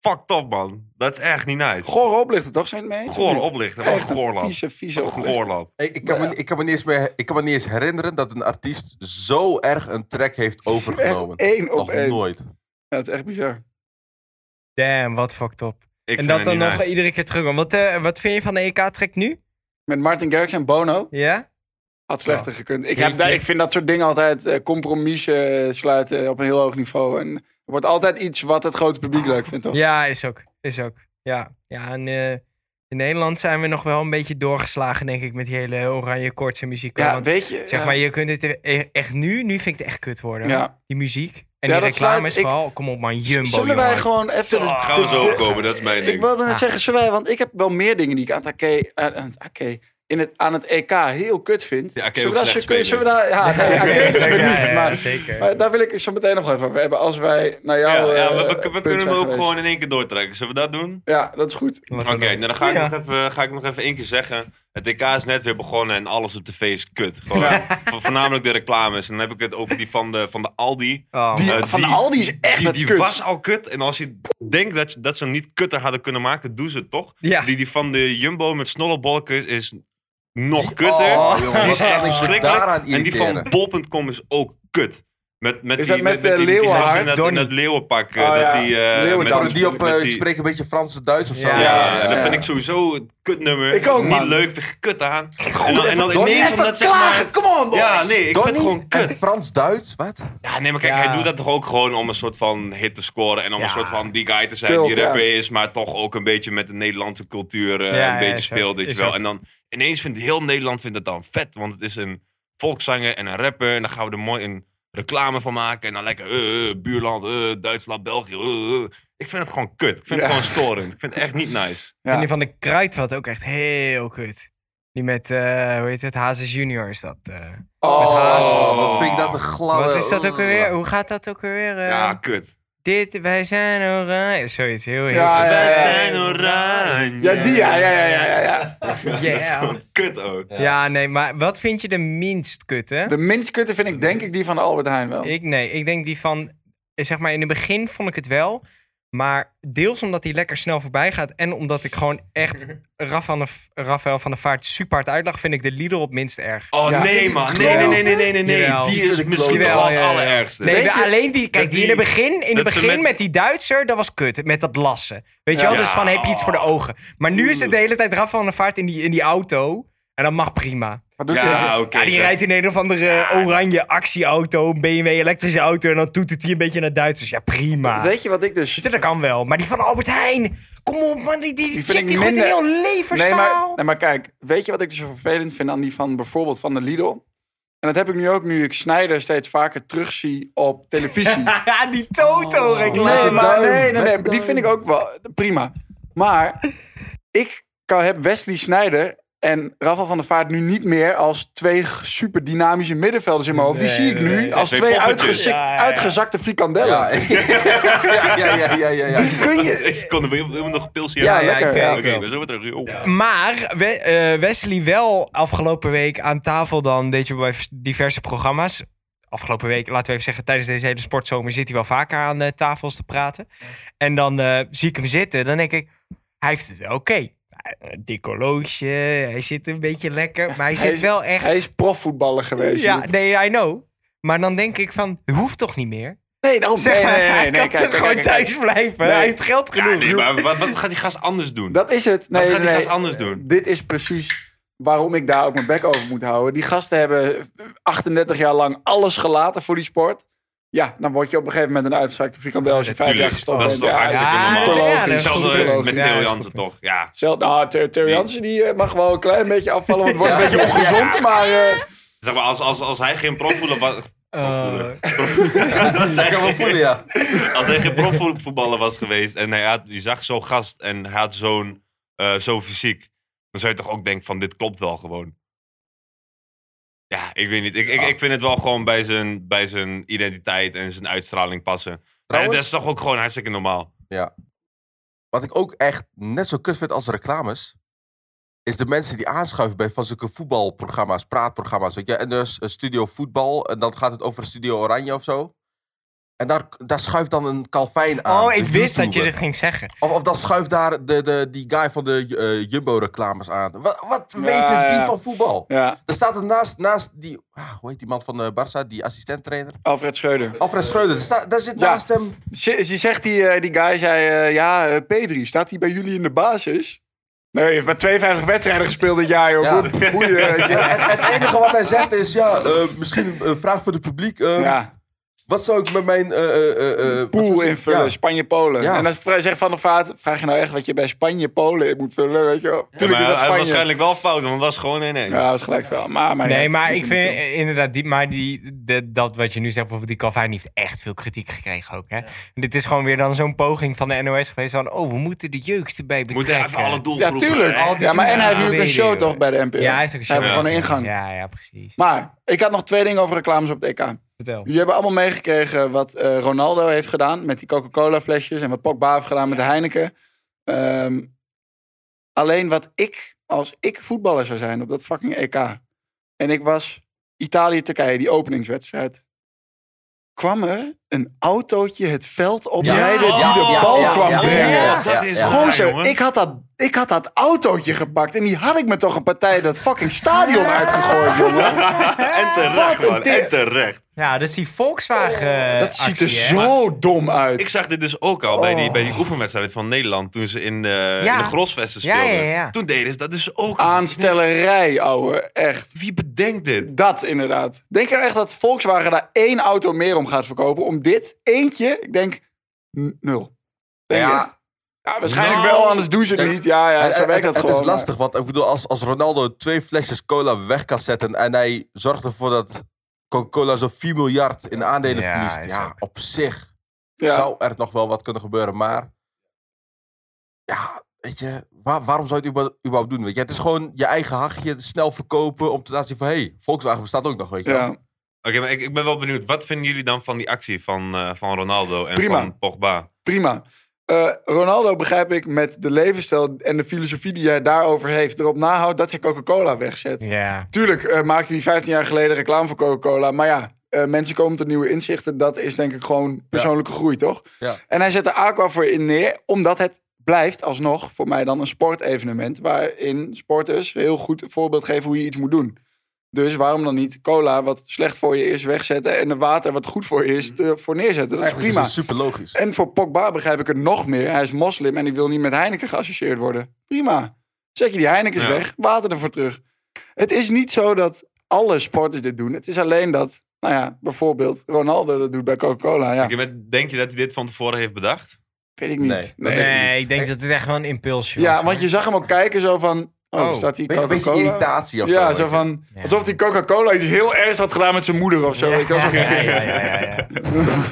[SPEAKER 3] Fucked up, man. Dat is echt niet nice.
[SPEAKER 2] Goor oplichter, toch? Zijn het mee?
[SPEAKER 3] Goor oplichter. Wat een
[SPEAKER 2] Echt een
[SPEAKER 3] goorlap.
[SPEAKER 2] Vieze, vieze
[SPEAKER 3] Wat een
[SPEAKER 2] oplichter.
[SPEAKER 3] goorlap.
[SPEAKER 5] Ik, ik, kan me, ik, kan me niet eens meer, ik kan me niet eens herinneren dat een artiest zo erg een track heeft overgenomen.
[SPEAKER 2] Echt één op
[SPEAKER 5] Nog
[SPEAKER 2] één.
[SPEAKER 5] nooit.
[SPEAKER 2] Ja, het is echt bizar.
[SPEAKER 1] Damn, wat fucked up.
[SPEAKER 3] Ik
[SPEAKER 1] en
[SPEAKER 3] vind
[SPEAKER 1] dat
[SPEAKER 3] het
[SPEAKER 1] dan
[SPEAKER 3] niet
[SPEAKER 1] nog
[SPEAKER 3] nice.
[SPEAKER 1] iedere keer terug. Wat, eh, wat vind je van de EK-trek nu?
[SPEAKER 2] Met Martin Garrix en Bono
[SPEAKER 1] Ja?
[SPEAKER 2] had slechter gekund. Ik, heb,
[SPEAKER 1] Jeetje.
[SPEAKER 2] daar- ik vind dat soort dingen altijd eh, compromissen eh, sluiten op een heel hoog niveau. En er wordt altijd iets wat het grote publiek leuk vindt, toch?
[SPEAKER 1] Ja, is ook. Is ook. Ja. Ja, en eh, in Nederland zijn we nog wel een beetje doorgeslagen, denk ik, met die hele oranje koortse muziek.
[SPEAKER 2] Ja,
[SPEAKER 1] Want,
[SPEAKER 2] weet je...
[SPEAKER 1] zeg
[SPEAKER 2] ja.
[SPEAKER 1] maar, je kunt het e- echt nu, nu vind ik het echt kut worden.
[SPEAKER 2] Ja.
[SPEAKER 1] Die muziek. En
[SPEAKER 2] Ja,
[SPEAKER 1] die
[SPEAKER 2] dat sluit-
[SPEAKER 1] reclames
[SPEAKER 2] ik-
[SPEAKER 1] vooral. Kom op man, Jumbo,
[SPEAKER 2] Zullen wij
[SPEAKER 1] jongen.
[SPEAKER 2] gewoon even... de-
[SPEAKER 1] Gaan
[SPEAKER 3] Gaan we
[SPEAKER 2] de-
[SPEAKER 3] zo
[SPEAKER 2] de-
[SPEAKER 3] opkomen, dat is mijn
[SPEAKER 2] Ik
[SPEAKER 3] ding.
[SPEAKER 2] wilde net
[SPEAKER 1] Ah.
[SPEAKER 2] zeggen, zullen wij, want ik heb wel meer dingen die ik aan het, AK aan het, AK in het, aan het EK heel kut vind.
[SPEAKER 3] Ja, AK
[SPEAKER 2] Zullen we
[SPEAKER 3] ook
[SPEAKER 2] daar-
[SPEAKER 3] slecht
[SPEAKER 2] kun- zullen we daar... Ja, nee, AK
[SPEAKER 1] Ja,
[SPEAKER 2] is weer
[SPEAKER 1] zeker, ja,
[SPEAKER 2] niet,
[SPEAKER 1] ja,
[SPEAKER 2] maar-
[SPEAKER 1] zeker.
[SPEAKER 2] Maar daar wil ik het zo meteen nog even over hebben. Als wij naar jou...
[SPEAKER 3] Ja, ja,
[SPEAKER 2] eh,
[SPEAKER 3] we, we- we
[SPEAKER 2] punt
[SPEAKER 3] kunnen
[SPEAKER 2] zijn
[SPEAKER 3] hem ook
[SPEAKER 2] geweest.
[SPEAKER 3] gewoon in één keer doortrekken. Zullen we dat doen?
[SPEAKER 2] Ja, dat is goed.
[SPEAKER 1] Wat
[SPEAKER 3] Oké,
[SPEAKER 1] dan ook.
[SPEAKER 3] nou dan ga ik,
[SPEAKER 1] Ja.
[SPEAKER 3] nog even, ga ik nog even één keer zeggen. Het EK is net weer begonnen en alles op tv is kut. Gewoon, vo- Voornamelijk de reclames. En dan heb ik het over die van de, van de Aldi.
[SPEAKER 1] Oh,
[SPEAKER 2] Die-
[SPEAKER 1] man.
[SPEAKER 3] Eh,
[SPEAKER 2] van de Aldi is echt
[SPEAKER 3] die,
[SPEAKER 2] het
[SPEAKER 3] die
[SPEAKER 2] kut.
[SPEAKER 3] was al kut. En als je denkt dat, je- dat ze hem niet kutter hadden kunnen maken, doen ze het toch.
[SPEAKER 1] Ja.
[SPEAKER 3] Die, die van de Jumbo met snollebolken is nog kutter.
[SPEAKER 5] Oh,
[SPEAKER 3] die
[SPEAKER 5] jongen,
[SPEAKER 3] is
[SPEAKER 5] wat kan ik
[SPEAKER 3] echt
[SPEAKER 5] me daaraan
[SPEAKER 3] verschrikkelijk. En die van
[SPEAKER 5] irriteren?
[SPEAKER 3] bol.com is ook kut. Met, met
[SPEAKER 2] Is
[SPEAKER 3] die,
[SPEAKER 2] dat met, eh,
[SPEAKER 3] die, die gast
[SPEAKER 2] Leeuwenhaar?
[SPEAKER 3] in dat, in
[SPEAKER 1] Donnie.
[SPEAKER 3] dat leeuwenpak. eh,
[SPEAKER 2] Oh,
[SPEAKER 3] dat
[SPEAKER 2] ja.
[SPEAKER 3] die, eh, met-
[SPEAKER 2] Leeuwendans.
[SPEAKER 5] Daarom die op, eh,
[SPEAKER 3] met
[SPEAKER 5] ik
[SPEAKER 3] die-
[SPEAKER 5] spreek een beetje Franse Duits of zo.
[SPEAKER 1] Ja,
[SPEAKER 3] Ja,
[SPEAKER 1] ja,
[SPEAKER 3] en
[SPEAKER 1] ja.
[SPEAKER 3] dat vind ik sowieso een kutnummer.
[SPEAKER 2] Ik ook,
[SPEAKER 3] Niet
[SPEAKER 2] man.
[SPEAKER 3] leuk, vind ik kut aan. En dan, en dan
[SPEAKER 5] Donnie,
[SPEAKER 3] ineens
[SPEAKER 5] even
[SPEAKER 3] omdat zeg maar...
[SPEAKER 2] Come on, boy.
[SPEAKER 3] Ja, nee, ik vind het gewoon kut.
[SPEAKER 5] Frans-Duits, wat?
[SPEAKER 3] Ja, nee, maar kijk,
[SPEAKER 1] Ja.
[SPEAKER 3] hij doet dat toch ook gewoon om een soort van hit te scoren. En om
[SPEAKER 1] Ja.
[SPEAKER 3] een soort van die guy te zijn
[SPEAKER 2] Speelt,
[SPEAKER 3] die
[SPEAKER 2] ja.
[SPEAKER 3] rapper is. Maar toch ook een beetje met de Nederlandse cultuur eh,
[SPEAKER 1] Ja,
[SPEAKER 3] een
[SPEAKER 1] ja,
[SPEAKER 3] beetje
[SPEAKER 1] is
[SPEAKER 3] speelt,
[SPEAKER 1] ook-
[SPEAKER 3] weet je
[SPEAKER 1] is
[SPEAKER 3] wel.
[SPEAKER 1] ook.
[SPEAKER 3] En dan ineens vindt heel Nederland vindt het dan vet. Want het is een volkszanger en een rapper. En daar gaan we er mooi een reclame van maken. En dan lekker eh, eh, buurland, eh, Duitsland, België. eh, eh. Ik vind het gewoon kut. Ik vind
[SPEAKER 2] Ja.
[SPEAKER 3] het gewoon storend. Ik vind het echt niet nice.
[SPEAKER 1] Ik vind die van de Kruidvat ook echt heel kut. Die met, eh, hoe heet het, Hazes Junior is dat. eh.
[SPEAKER 5] Oh,
[SPEAKER 1] Hazes.
[SPEAKER 5] wat vind ik dat een gladde...
[SPEAKER 2] eh,
[SPEAKER 5] Oh.
[SPEAKER 1] Wat is dat
[SPEAKER 2] oh,
[SPEAKER 1] ook alweer? Hoe gaat dat ook alweer? eh?
[SPEAKER 3] Ja, kut.
[SPEAKER 1] Dit, wij zijn oranje. Zoiets, heel heel
[SPEAKER 2] Ah, Ja,
[SPEAKER 1] kut.
[SPEAKER 2] ja,
[SPEAKER 3] Wij
[SPEAKER 2] ja.
[SPEAKER 3] zijn oranje.
[SPEAKER 2] Ja, die, ja, ja, ja, ja, ja, ja.
[SPEAKER 3] Dat is
[SPEAKER 1] Yeah.
[SPEAKER 3] gewoon kut ook.
[SPEAKER 1] Ja, nee, maar wat vind je de minst kutte?
[SPEAKER 2] De minst kutte vind ik denk ik die van de Albert Heijn
[SPEAKER 3] Oh.
[SPEAKER 2] wel.
[SPEAKER 1] Ik, nee, ik denk die van, eh, zeg maar, in het begin vond ik het wel. Maar deels omdat die lekker snel voorbij gaat. En omdat ik gewoon echt Raf van de, Rafael van der Vaart super hard uitlag. Vind ik de lieder op minst erg.
[SPEAKER 3] Oh
[SPEAKER 2] Ja.
[SPEAKER 3] nee, man. Nee, nee, nee, nee, nee, nee. nee.
[SPEAKER 1] Jawel.
[SPEAKER 3] Die
[SPEAKER 5] Die vind
[SPEAKER 3] is
[SPEAKER 5] ik
[SPEAKER 3] misschien
[SPEAKER 5] kloot.
[SPEAKER 3] wel het
[SPEAKER 1] Ja, ja, ja.
[SPEAKER 3] allerergste.
[SPEAKER 1] Nee,
[SPEAKER 2] Weet
[SPEAKER 1] de-
[SPEAKER 2] je-
[SPEAKER 1] alleen die, kijk,
[SPEAKER 3] dat
[SPEAKER 1] die in het
[SPEAKER 3] die-
[SPEAKER 1] begin, in het
[SPEAKER 3] dat ze
[SPEAKER 1] begin met...
[SPEAKER 3] met-
[SPEAKER 1] die Duitser, dat was kut. Met dat lassen. Weet je
[SPEAKER 2] Ja.
[SPEAKER 1] wel? Dus
[SPEAKER 3] Ja.
[SPEAKER 1] van, heb je iets voor de ogen. Maar nu is het de hele tijd Raf van der Vaart in die, in die auto. En dat mag prima.
[SPEAKER 2] Wat doet ze?
[SPEAKER 3] Ja, oké.
[SPEAKER 1] ja, die rijdt in een of andere oranje actieauto, een BMW elektrische auto. En dan toetert hij een beetje naar Duitsers. Ja, prima.
[SPEAKER 2] Weet je wat ik dus...
[SPEAKER 1] Dat kan wel, maar die van Albert Heijn. Kom op, man. Die, die,
[SPEAKER 2] vind
[SPEAKER 1] chick,
[SPEAKER 2] ik
[SPEAKER 1] die gooit
[SPEAKER 2] minder-
[SPEAKER 1] een heel
[SPEAKER 2] Nee maar,
[SPEAKER 1] levensverhaal.
[SPEAKER 2] nee, maar kijk, weet je wat ik dus zo vervelend vind aan die van bijvoorbeeld van de Lidl? En dat heb ik nu ook nu ik Snijder steeds vaker terugzie op televisie.
[SPEAKER 1] Ja, die Toto-reclame.
[SPEAKER 2] Oh, Nee, maar
[SPEAKER 5] duim,
[SPEAKER 2] nee, nee, nee,
[SPEAKER 5] met
[SPEAKER 2] die vind ik ook wel prima. Maar ik kan, heb Wesley Sneijder en Rafael van der Vaart nu niet meer als twee super dynamische middenvelders in mijn hoofd. die
[SPEAKER 1] Nee,
[SPEAKER 2] zie ik
[SPEAKER 1] nee,
[SPEAKER 2] nu
[SPEAKER 1] nee.
[SPEAKER 2] als
[SPEAKER 3] Twee
[SPEAKER 2] twee,
[SPEAKER 3] poppetjes.
[SPEAKER 2] uitgezakt-
[SPEAKER 1] Ja, ja, ja.
[SPEAKER 2] uitgezakte frikandellen.
[SPEAKER 5] Ja, ja, ja, ja, ja, ja, ja.
[SPEAKER 2] Kun je...
[SPEAKER 3] Ik kon er weer- weer nog een pilsje
[SPEAKER 2] Ja,
[SPEAKER 3] halen.
[SPEAKER 2] lekker.
[SPEAKER 1] ik-
[SPEAKER 2] ja.
[SPEAKER 1] ik-
[SPEAKER 3] Oké, we zijn weer terug. Yo.
[SPEAKER 1] Maar we- eh, Wesley wel afgelopen week aan tafel dan, deed je bij v- diverse programma's. Afgelopen week, laten we even zeggen, tijdens deze hele sportzomer zit hij wel vaker aan eh, tafels te praten. En dan eh, zie ik hem zitten, dan denk ik, hij heeft het wel oké. Een Dik horloge, hij zit een beetje lekker, maar hij
[SPEAKER 2] Hij
[SPEAKER 1] zit
[SPEAKER 2] is-
[SPEAKER 1] wel echt...
[SPEAKER 2] Hij is profvoetballer geweest.
[SPEAKER 1] Ja,
[SPEAKER 2] Joep.
[SPEAKER 1] nee, I know. Maar dan denk ik van, het hoeft toch niet meer?
[SPEAKER 2] Nee, daarom.
[SPEAKER 1] Zeg
[SPEAKER 2] Nee,
[SPEAKER 1] maar,
[SPEAKER 2] nee, nee,
[SPEAKER 1] hij
[SPEAKER 2] nee,
[SPEAKER 1] kan
[SPEAKER 2] kijk,
[SPEAKER 1] toch
[SPEAKER 2] kijk,
[SPEAKER 1] gewoon
[SPEAKER 2] kijk, kijk.
[SPEAKER 1] thuis blijven?
[SPEAKER 2] Nee.
[SPEAKER 1] Hij heeft geld genoeg.
[SPEAKER 3] Ja, nee, maar wat, wat gaat die gast anders doen?
[SPEAKER 2] Dat is het. Nee,
[SPEAKER 3] wat gaat die
[SPEAKER 2] nee,
[SPEAKER 3] gast anders doen?
[SPEAKER 2] Dit is precies waarom ik daar ook mijn bek over moet houden. Die gasten hebben 38 jaar lang alles gelaten voor die sport. Ja, dan word je op een gegeven moment een uitgezakte frikandel als je vijf jaar
[SPEAKER 3] Tuurlijk,
[SPEAKER 2] gestopt
[SPEAKER 3] dat is
[SPEAKER 2] bent.
[SPEAKER 3] toch hartstikke
[SPEAKER 2] ja,
[SPEAKER 3] normaal.
[SPEAKER 2] superlogisch,
[SPEAKER 1] Ja, dat is
[SPEAKER 3] Hetzelfde
[SPEAKER 1] goed.
[SPEAKER 2] superlogisch.
[SPEAKER 3] met
[SPEAKER 1] Ja,
[SPEAKER 3] Theo
[SPEAKER 1] is
[SPEAKER 3] Jansen toch? Ja.
[SPEAKER 2] Zelf, nou, Theo Theo
[SPEAKER 3] Die-
[SPEAKER 2] Jansen die eh, mag wel een klein beetje afvallen, want het wordt
[SPEAKER 5] Ja.
[SPEAKER 2] een beetje ongezond. Maar eh,
[SPEAKER 3] Zeg maar, als, als, als hij geen profvoetballer was...
[SPEAKER 1] Eh,
[SPEAKER 3] als hij
[SPEAKER 5] Ik kan wel
[SPEAKER 3] geen-
[SPEAKER 5] voelen, ja.
[SPEAKER 3] Als hij geen profvoetballer was geweest en hij, had, je zag zo'n gast en hij had zo'n eh, zo'n fysiek, dan zou je toch ook denken van dit klopt wel gewoon. Ja, ik weet niet. Ik, ik, ik vind het wel gewoon bij zijn, bij zijn identiteit en zijn uitstraling passen. Maar dat
[SPEAKER 5] Trouwens,
[SPEAKER 3] is toch ook gewoon hartstikke normaal.
[SPEAKER 5] wat ik ook echt net zo kut vind als reclames, is de mensen die aanschuiven bij van zulke voetbalprogramma's, praatprogramma's. Weet je? En dus eh, Studio Voetbal, en dan gaat het over Studio Oranje of zo. En daar, daar schuift dan een Calvijn
[SPEAKER 2] Ah,
[SPEAKER 5] aan.
[SPEAKER 1] oh, ik
[SPEAKER 5] de
[SPEAKER 1] wist dat je
[SPEAKER 5] YouTuber.
[SPEAKER 1] dit ging zeggen.
[SPEAKER 5] Of, of dan schuift daar de, de, die guy van de eh, Jumbo-reclames aan. Wat, wat
[SPEAKER 2] Ja,
[SPEAKER 5] weten die
[SPEAKER 2] ja.
[SPEAKER 5] van voetbal?
[SPEAKER 2] ja,
[SPEAKER 5] Er staat er naast, naast die, ah, hoe heet die man van eh Barça, die assistent-trainer?
[SPEAKER 2] Alfred Schreuder.
[SPEAKER 5] Alfred Schreuder, Er staat- daar zit
[SPEAKER 2] Ja.
[SPEAKER 5] naast hem.
[SPEAKER 2] Ze, ze zegt die, eh, die guy, zei, eh, ja, eh, Pedri, staat hij bij jullie in de basis? Nee, hij heeft maar 52 wedstrijden gespeeld dit jaar, joh.
[SPEAKER 5] Ja.
[SPEAKER 2] Boe- Boeien, weet je.
[SPEAKER 5] Het, het enige wat hij zegt is, ja, eh, misschien een eh, vraag voor het publiek. eh,
[SPEAKER 2] Ja.
[SPEAKER 5] Wat zou ik met mijn... eh, eh, eh, eh, wat
[SPEAKER 2] pool
[SPEAKER 5] was het?
[SPEAKER 2] invullen,
[SPEAKER 5] Ja.
[SPEAKER 2] Spanje-Polen.
[SPEAKER 5] Ja.
[SPEAKER 2] En dan vra- zegt Van der Vaart, vraag je nou echt wat je bij Spanje-Polen in moet vullen, weet je wel. Tuurlijk
[SPEAKER 3] maar
[SPEAKER 2] is
[SPEAKER 3] hij
[SPEAKER 2] dat
[SPEAKER 3] had
[SPEAKER 2] Spanje.
[SPEAKER 3] waarschijnlijk wel fout, want het was gewoon 1-1.
[SPEAKER 2] Ja, dat is gelijk wel. Maar, maar
[SPEAKER 1] Nee,
[SPEAKER 2] niet.
[SPEAKER 1] maar
[SPEAKER 2] Niet
[SPEAKER 1] ik
[SPEAKER 2] te
[SPEAKER 1] vind
[SPEAKER 2] doen.
[SPEAKER 1] eh, inderdaad, die, maar die, de- dat wat je nu zegt, bijvoorbeeld die Calvin heeft echt veel kritiek gekregen ook. Hè? En Dit is gewoon weer dan zo'n poging van de NOS geweest van, oh, we moeten de jeugd erbij
[SPEAKER 3] Moet
[SPEAKER 1] betrekken.
[SPEAKER 3] hij even alle
[SPEAKER 2] Ja,
[SPEAKER 3] doelgroepen...
[SPEAKER 2] tuurlijk.
[SPEAKER 3] hè?
[SPEAKER 2] Ja, maar en hij heeft
[SPEAKER 1] Ja,
[SPEAKER 2] nu ook een
[SPEAKER 1] weet je,
[SPEAKER 2] show toch
[SPEAKER 1] joh.
[SPEAKER 2] bij de NPO.
[SPEAKER 1] Ja, hij heeft ook een show.
[SPEAKER 2] Hij heeft gewoon een ingang.
[SPEAKER 1] Ja, ja, precies.
[SPEAKER 2] Maar, ik had nog twee dingen over reclames op het E EK.
[SPEAKER 1] Vertel.
[SPEAKER 2] Jullie hebben allemaal meegekregen wat eh, Ronaldo heeft gedaan met die Coca-Cola flesjes en wat Pogba heeft gedaan met de Heineken. Ehm, alleen wat ik, als ik voetballer zou zijn op dat fucking EK. En ik was Italië-Turkije, die openingswedstrijd. Kwam er een autootje het veld
[SPEAKER 5] Ja.
[SPEAKER 2] oprijden
[SPEAKER 5] Oh,
[SPEAKER 2] die de
[SPEAKER 5] ja,
[SPEAKER 2] bal
[SPEAKER 5] ja,
[SPEAKER 2] kwam
[SPEAKER 5] ja,
[SPEAKER 2] brengen.
[SPEAKER 5] ja, ja.
[SPEAKER 3] dat is
[SPEAKER 5] Ja,
[SPEAKER 2] Gozer,
[SPEAKER 3] jongen.
[SPEAKER 2] ik, had dat, ik had dat autootje gepakt en die had ik me toch een partij dat fucking stadion uitgegooid, jongen.
[SPEAKER 3] en
[SPEAKER 2] Wat
[SPEAKER 3] terecht,
[SPEAKER 2] een
[SPEAKER 3] man.
[SPEAKER 2] di-
[SPEAKER 3] En terecht.
[SPEAKER 1] Ja, dus die
[SPEAKER 5] Eh,
[SPEAKER 1] Volkswagen.
[SPEAKER 2] Oh, Dat ziet er
[SPEAKER 1] actie, hè?
[SPEAKER 2] zo dom uit.
[SPEAKER 3] Ik zag dit dus ook al bij, die, bij die oefenwedstrijd van Nederland. Toen ze in, eh
[SPEAKER 1] Oh. Ja.
[SPEAKER 3] in de Grosvesten
[SPEAKER 1] Ja,
[SPEAKER 3] speelden.
[SPEAKER 1] ja, ja.
[SPEAKER 3] Toen deden ze dat dus ook.
[SPEAKER 2] Aanstellerij, ouwe. Echt.
[SPEAKER 3] Wie bedenkt dit?
[SPEAKER 2] Dat inderdaad. Denk je nou echt dat Volkswagen daar één auto meer om gaat verkopen? Om dit eentje? Ik denk n- nul. Denk je het?
[SPEAKER 5] Ja,
[SPEAKER 2] ja, waarschijnlijk
[SPEAKER 3] nou,
[SPEAKER 2] wel, anders doen ze het
[SPEAKER 5] kijk,
[SPEAKER 2] niet. Ja, ja,
[SPEAKER 5] het,
[SPEAKER 2] zo
[SPEAKER 5] het-
[SPEAKER 2] werkt dat
[SPEAKER 5] het
[SPEAKER 2] gewoon.
[SPEAKER 5] is lastig, want ik bedoel, als, als Ronaldo twee flesjes cola weg kan zetten en hij zorgt ervoor dat Coca-Cola zo'n 4 miljard in aandelen
[SPEAKER 1] Ja,
[SPEAKER 5] verliest,
[SPEAKER 1] is
[SPEAKER 5] ja,
[SPEAKER 1] ook-
[SPEAKER 5] op zich
[SPEAKER 2] Ja.
[SPEAKER 5] zou er nog wel wat kunnen gebeuren. Maar ja, weet je, waar- waarom zou je het überhaupt- überhaupt doen? Weet je? Het is gewoon je eigen hachje snel verkopen om te laten zien van... hé, hey, Volkswagen bestaat ook nog, weet je wel.
[SPEAKER 2] Ja.
[SPEAKER 3] Oké, maar ik, ik ben wel benieuwd. Wat vinden jullie dan van die actie van, eh, van Ronaldo en
[SPEAKER 2] Prima.
[SPEAKER 3] van Pogba?
[SPEAKER 2] prima. Eh, Ronaldo begrijp ik met de levensstijl en de filosofie die hij daarover heeft. Erop nahoudt dat hij Coca-Cola wegzet.
[SPEAKER 1] Ja.
[SPEAKER 2] Tuurlijk eh, maakte hij 15 jaar geleden reclame voor Coca-Cola. Maar ja, eh, mensen komen tot nieuwe inzichten. Dat is denk ik gewoon persoonlijke groei, toch?
[SPEAKER 5] Ja.
[SPEAKER 2] En hij zet de aqua voor in neer. Omdat het blijft alsnog voor mij dan een sportevenement. Waarin sporters heel goed een voorbeeld geven hoe je iets moet doen. Dus waarom dan niet cola, wat slecht voor je is, wegzetten. En de water, wat goed voor je is, ervoor neerzetten. Dat is
[SPEAKER 5] Mhm. Eigenlijk
[SPEAKER 2] prima.
[SPEAKER 5] is het super logisch.
[SPEAKER 2] En voor Pogba begrijp ik het nog meer. Hij is moslim en die wil niet met Heineken geassocieerd worden. Prima. Zet je die Heinekens
[SPEAKER 3] Ja.
[SPEAKER 2] weg, water ervoor terug. Het is niet zo dat alle sporters dit doen. Het is alleen dat, nou ja, bijvoorbeeld Ronaldo dat doet bij Coca-Cola. Ja,
[SPEAKER 3] Oké, maar Denk je dat hij dit van tevoren heeft bedacht?
[SPEAKER 2] weet ik niet.
[SPEAKER 5] Nee, dat
[SPEAKER 2] Nee.
[SPEAKER 5] denk ik
[SPEAKER 1] Nee, ik denk dat het echt wel een impulsje was.
[SPEAKER 2] Ja,
[SPEAKER 1] hoor.
[SPEAKER 2] want je zag hem ook kijken zo van... Oh,
[SPEAKER 1] Oh,
[SPEAKER 2] staat hier
[SPEAKER 5] Beetje- Een beetje
[SPEAKER 2] Coca-Cola?
[SPEAKER 5] irritatie of zo.
[SPEAKER 2] Ja,
[SPEAKER 5] weet
[SPEAKER 2] zo
[SPEAKER 5] je.
[SPEAKER 2] van...
[SPEAKER 1] Ja.
[SPEAKER 2] Alsof die Coca-Cola iets heel ergs had gedaan met zijn moeder of zo.
[SPEAKER 1] Ja,
[SPEAKER 2] weet je wel. Zo-
[SPEAKER 1] ja, ja, ja, ja, ja.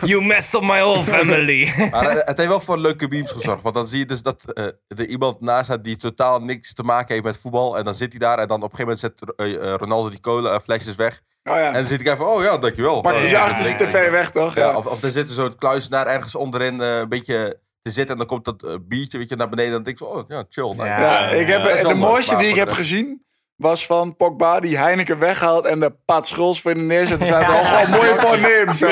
[SPEAKER 1] You messed up my whole family.
[SPEAKER 5] Maar eh, het heeft wel voor leuke memes gezorgd. Want dan zie je dus dat eh, er iemand naast staat die totaal niks te maken heeft met voetbal. En dan zit hij daar en dan op een gegeven moment zet eh, eh, Ronaldo die cola eh, flesjes weg.
[SPEAKER 2] Oh
[SPEAKER 5] En dan
[SPEAKER 2] ja.
[SPEAKER 5] zit ik even, oh ja, dankjewel.
[SPEAKER 2] Pak
[SPEAKER 5] Oh,
[SPEAKER 2] je ze
[SPEAKER 5] ja.
[SPEAKER 2] achter zijn tv weg, toch?
[SPEAKER 5] Ja,
[SPEAKER 2] Ja.
[SPEAKER 5] of, of er zit zo'n kluisenaar ergens onderin eh, een beetje te zitten. En dan komt dat eh, biertje weet je, naar beneden. En dan denk ik, zo, oh ja, chill. nou.
[SPEAKER 1] Ja.
[SPEAKER 2] Ja, ik heb,
[SPEAKER 5] ja, dat is
[SPEAKER 2] de
[SPEAKER 5] wel
[SPEAKER 2] mooiste
[SPEAKER 5] leuk,
[SPEAKER 2] die
[SPEAKER 5] maar
[SPEAKER 2] ik
[SPEAKER 5] voor
[SPEAKER 2] heb
[SPEAKER 5] de rest-
[SPEAKER 2] gezien was van Pogba die Heineken weghaalt en de Pat Schuls voor de neerzet. Er zaten al gewoon mooie poneem. Zo.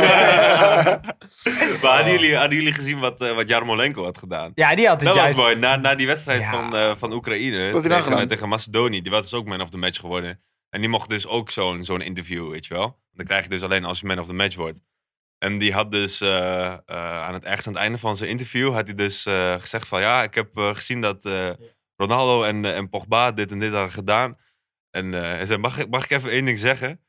[SPEAKER 3] Maar hadden, jullie, hadden jullie gezien wat, eh, wat Jarmolenko had gedaan?
[SPEAKER 1] Ja, die had het
[SPEAKER 3] Dat was
[SPEAKER 1] juist.
[SPEAKER 3] mooi. Na, na die wedstrijd
[SPEAKER 1] Ja.
[SPEAKER 3] van, eh, van Oekraïne
[SPEAKER 2] dan gedaan?
[SPEAKER 3] tegen, tegen Macedonië, die was dus ook man of the match geworden. En die mocht dus ook zo'n zo'n interview, weet je wel. Dat krijg je dus alleen als je man of the match wordt. En die had dus eh, eh, aan het ergens aan het einde van zijn interview had hij dus eh, gezegd van ja, ik heb eh, gezien dat eh, Ronaldo en, eh, en Pogba dit en dit hadden gedaan. En eh, hij zei, mag ik, mag ik even één ding zeggen?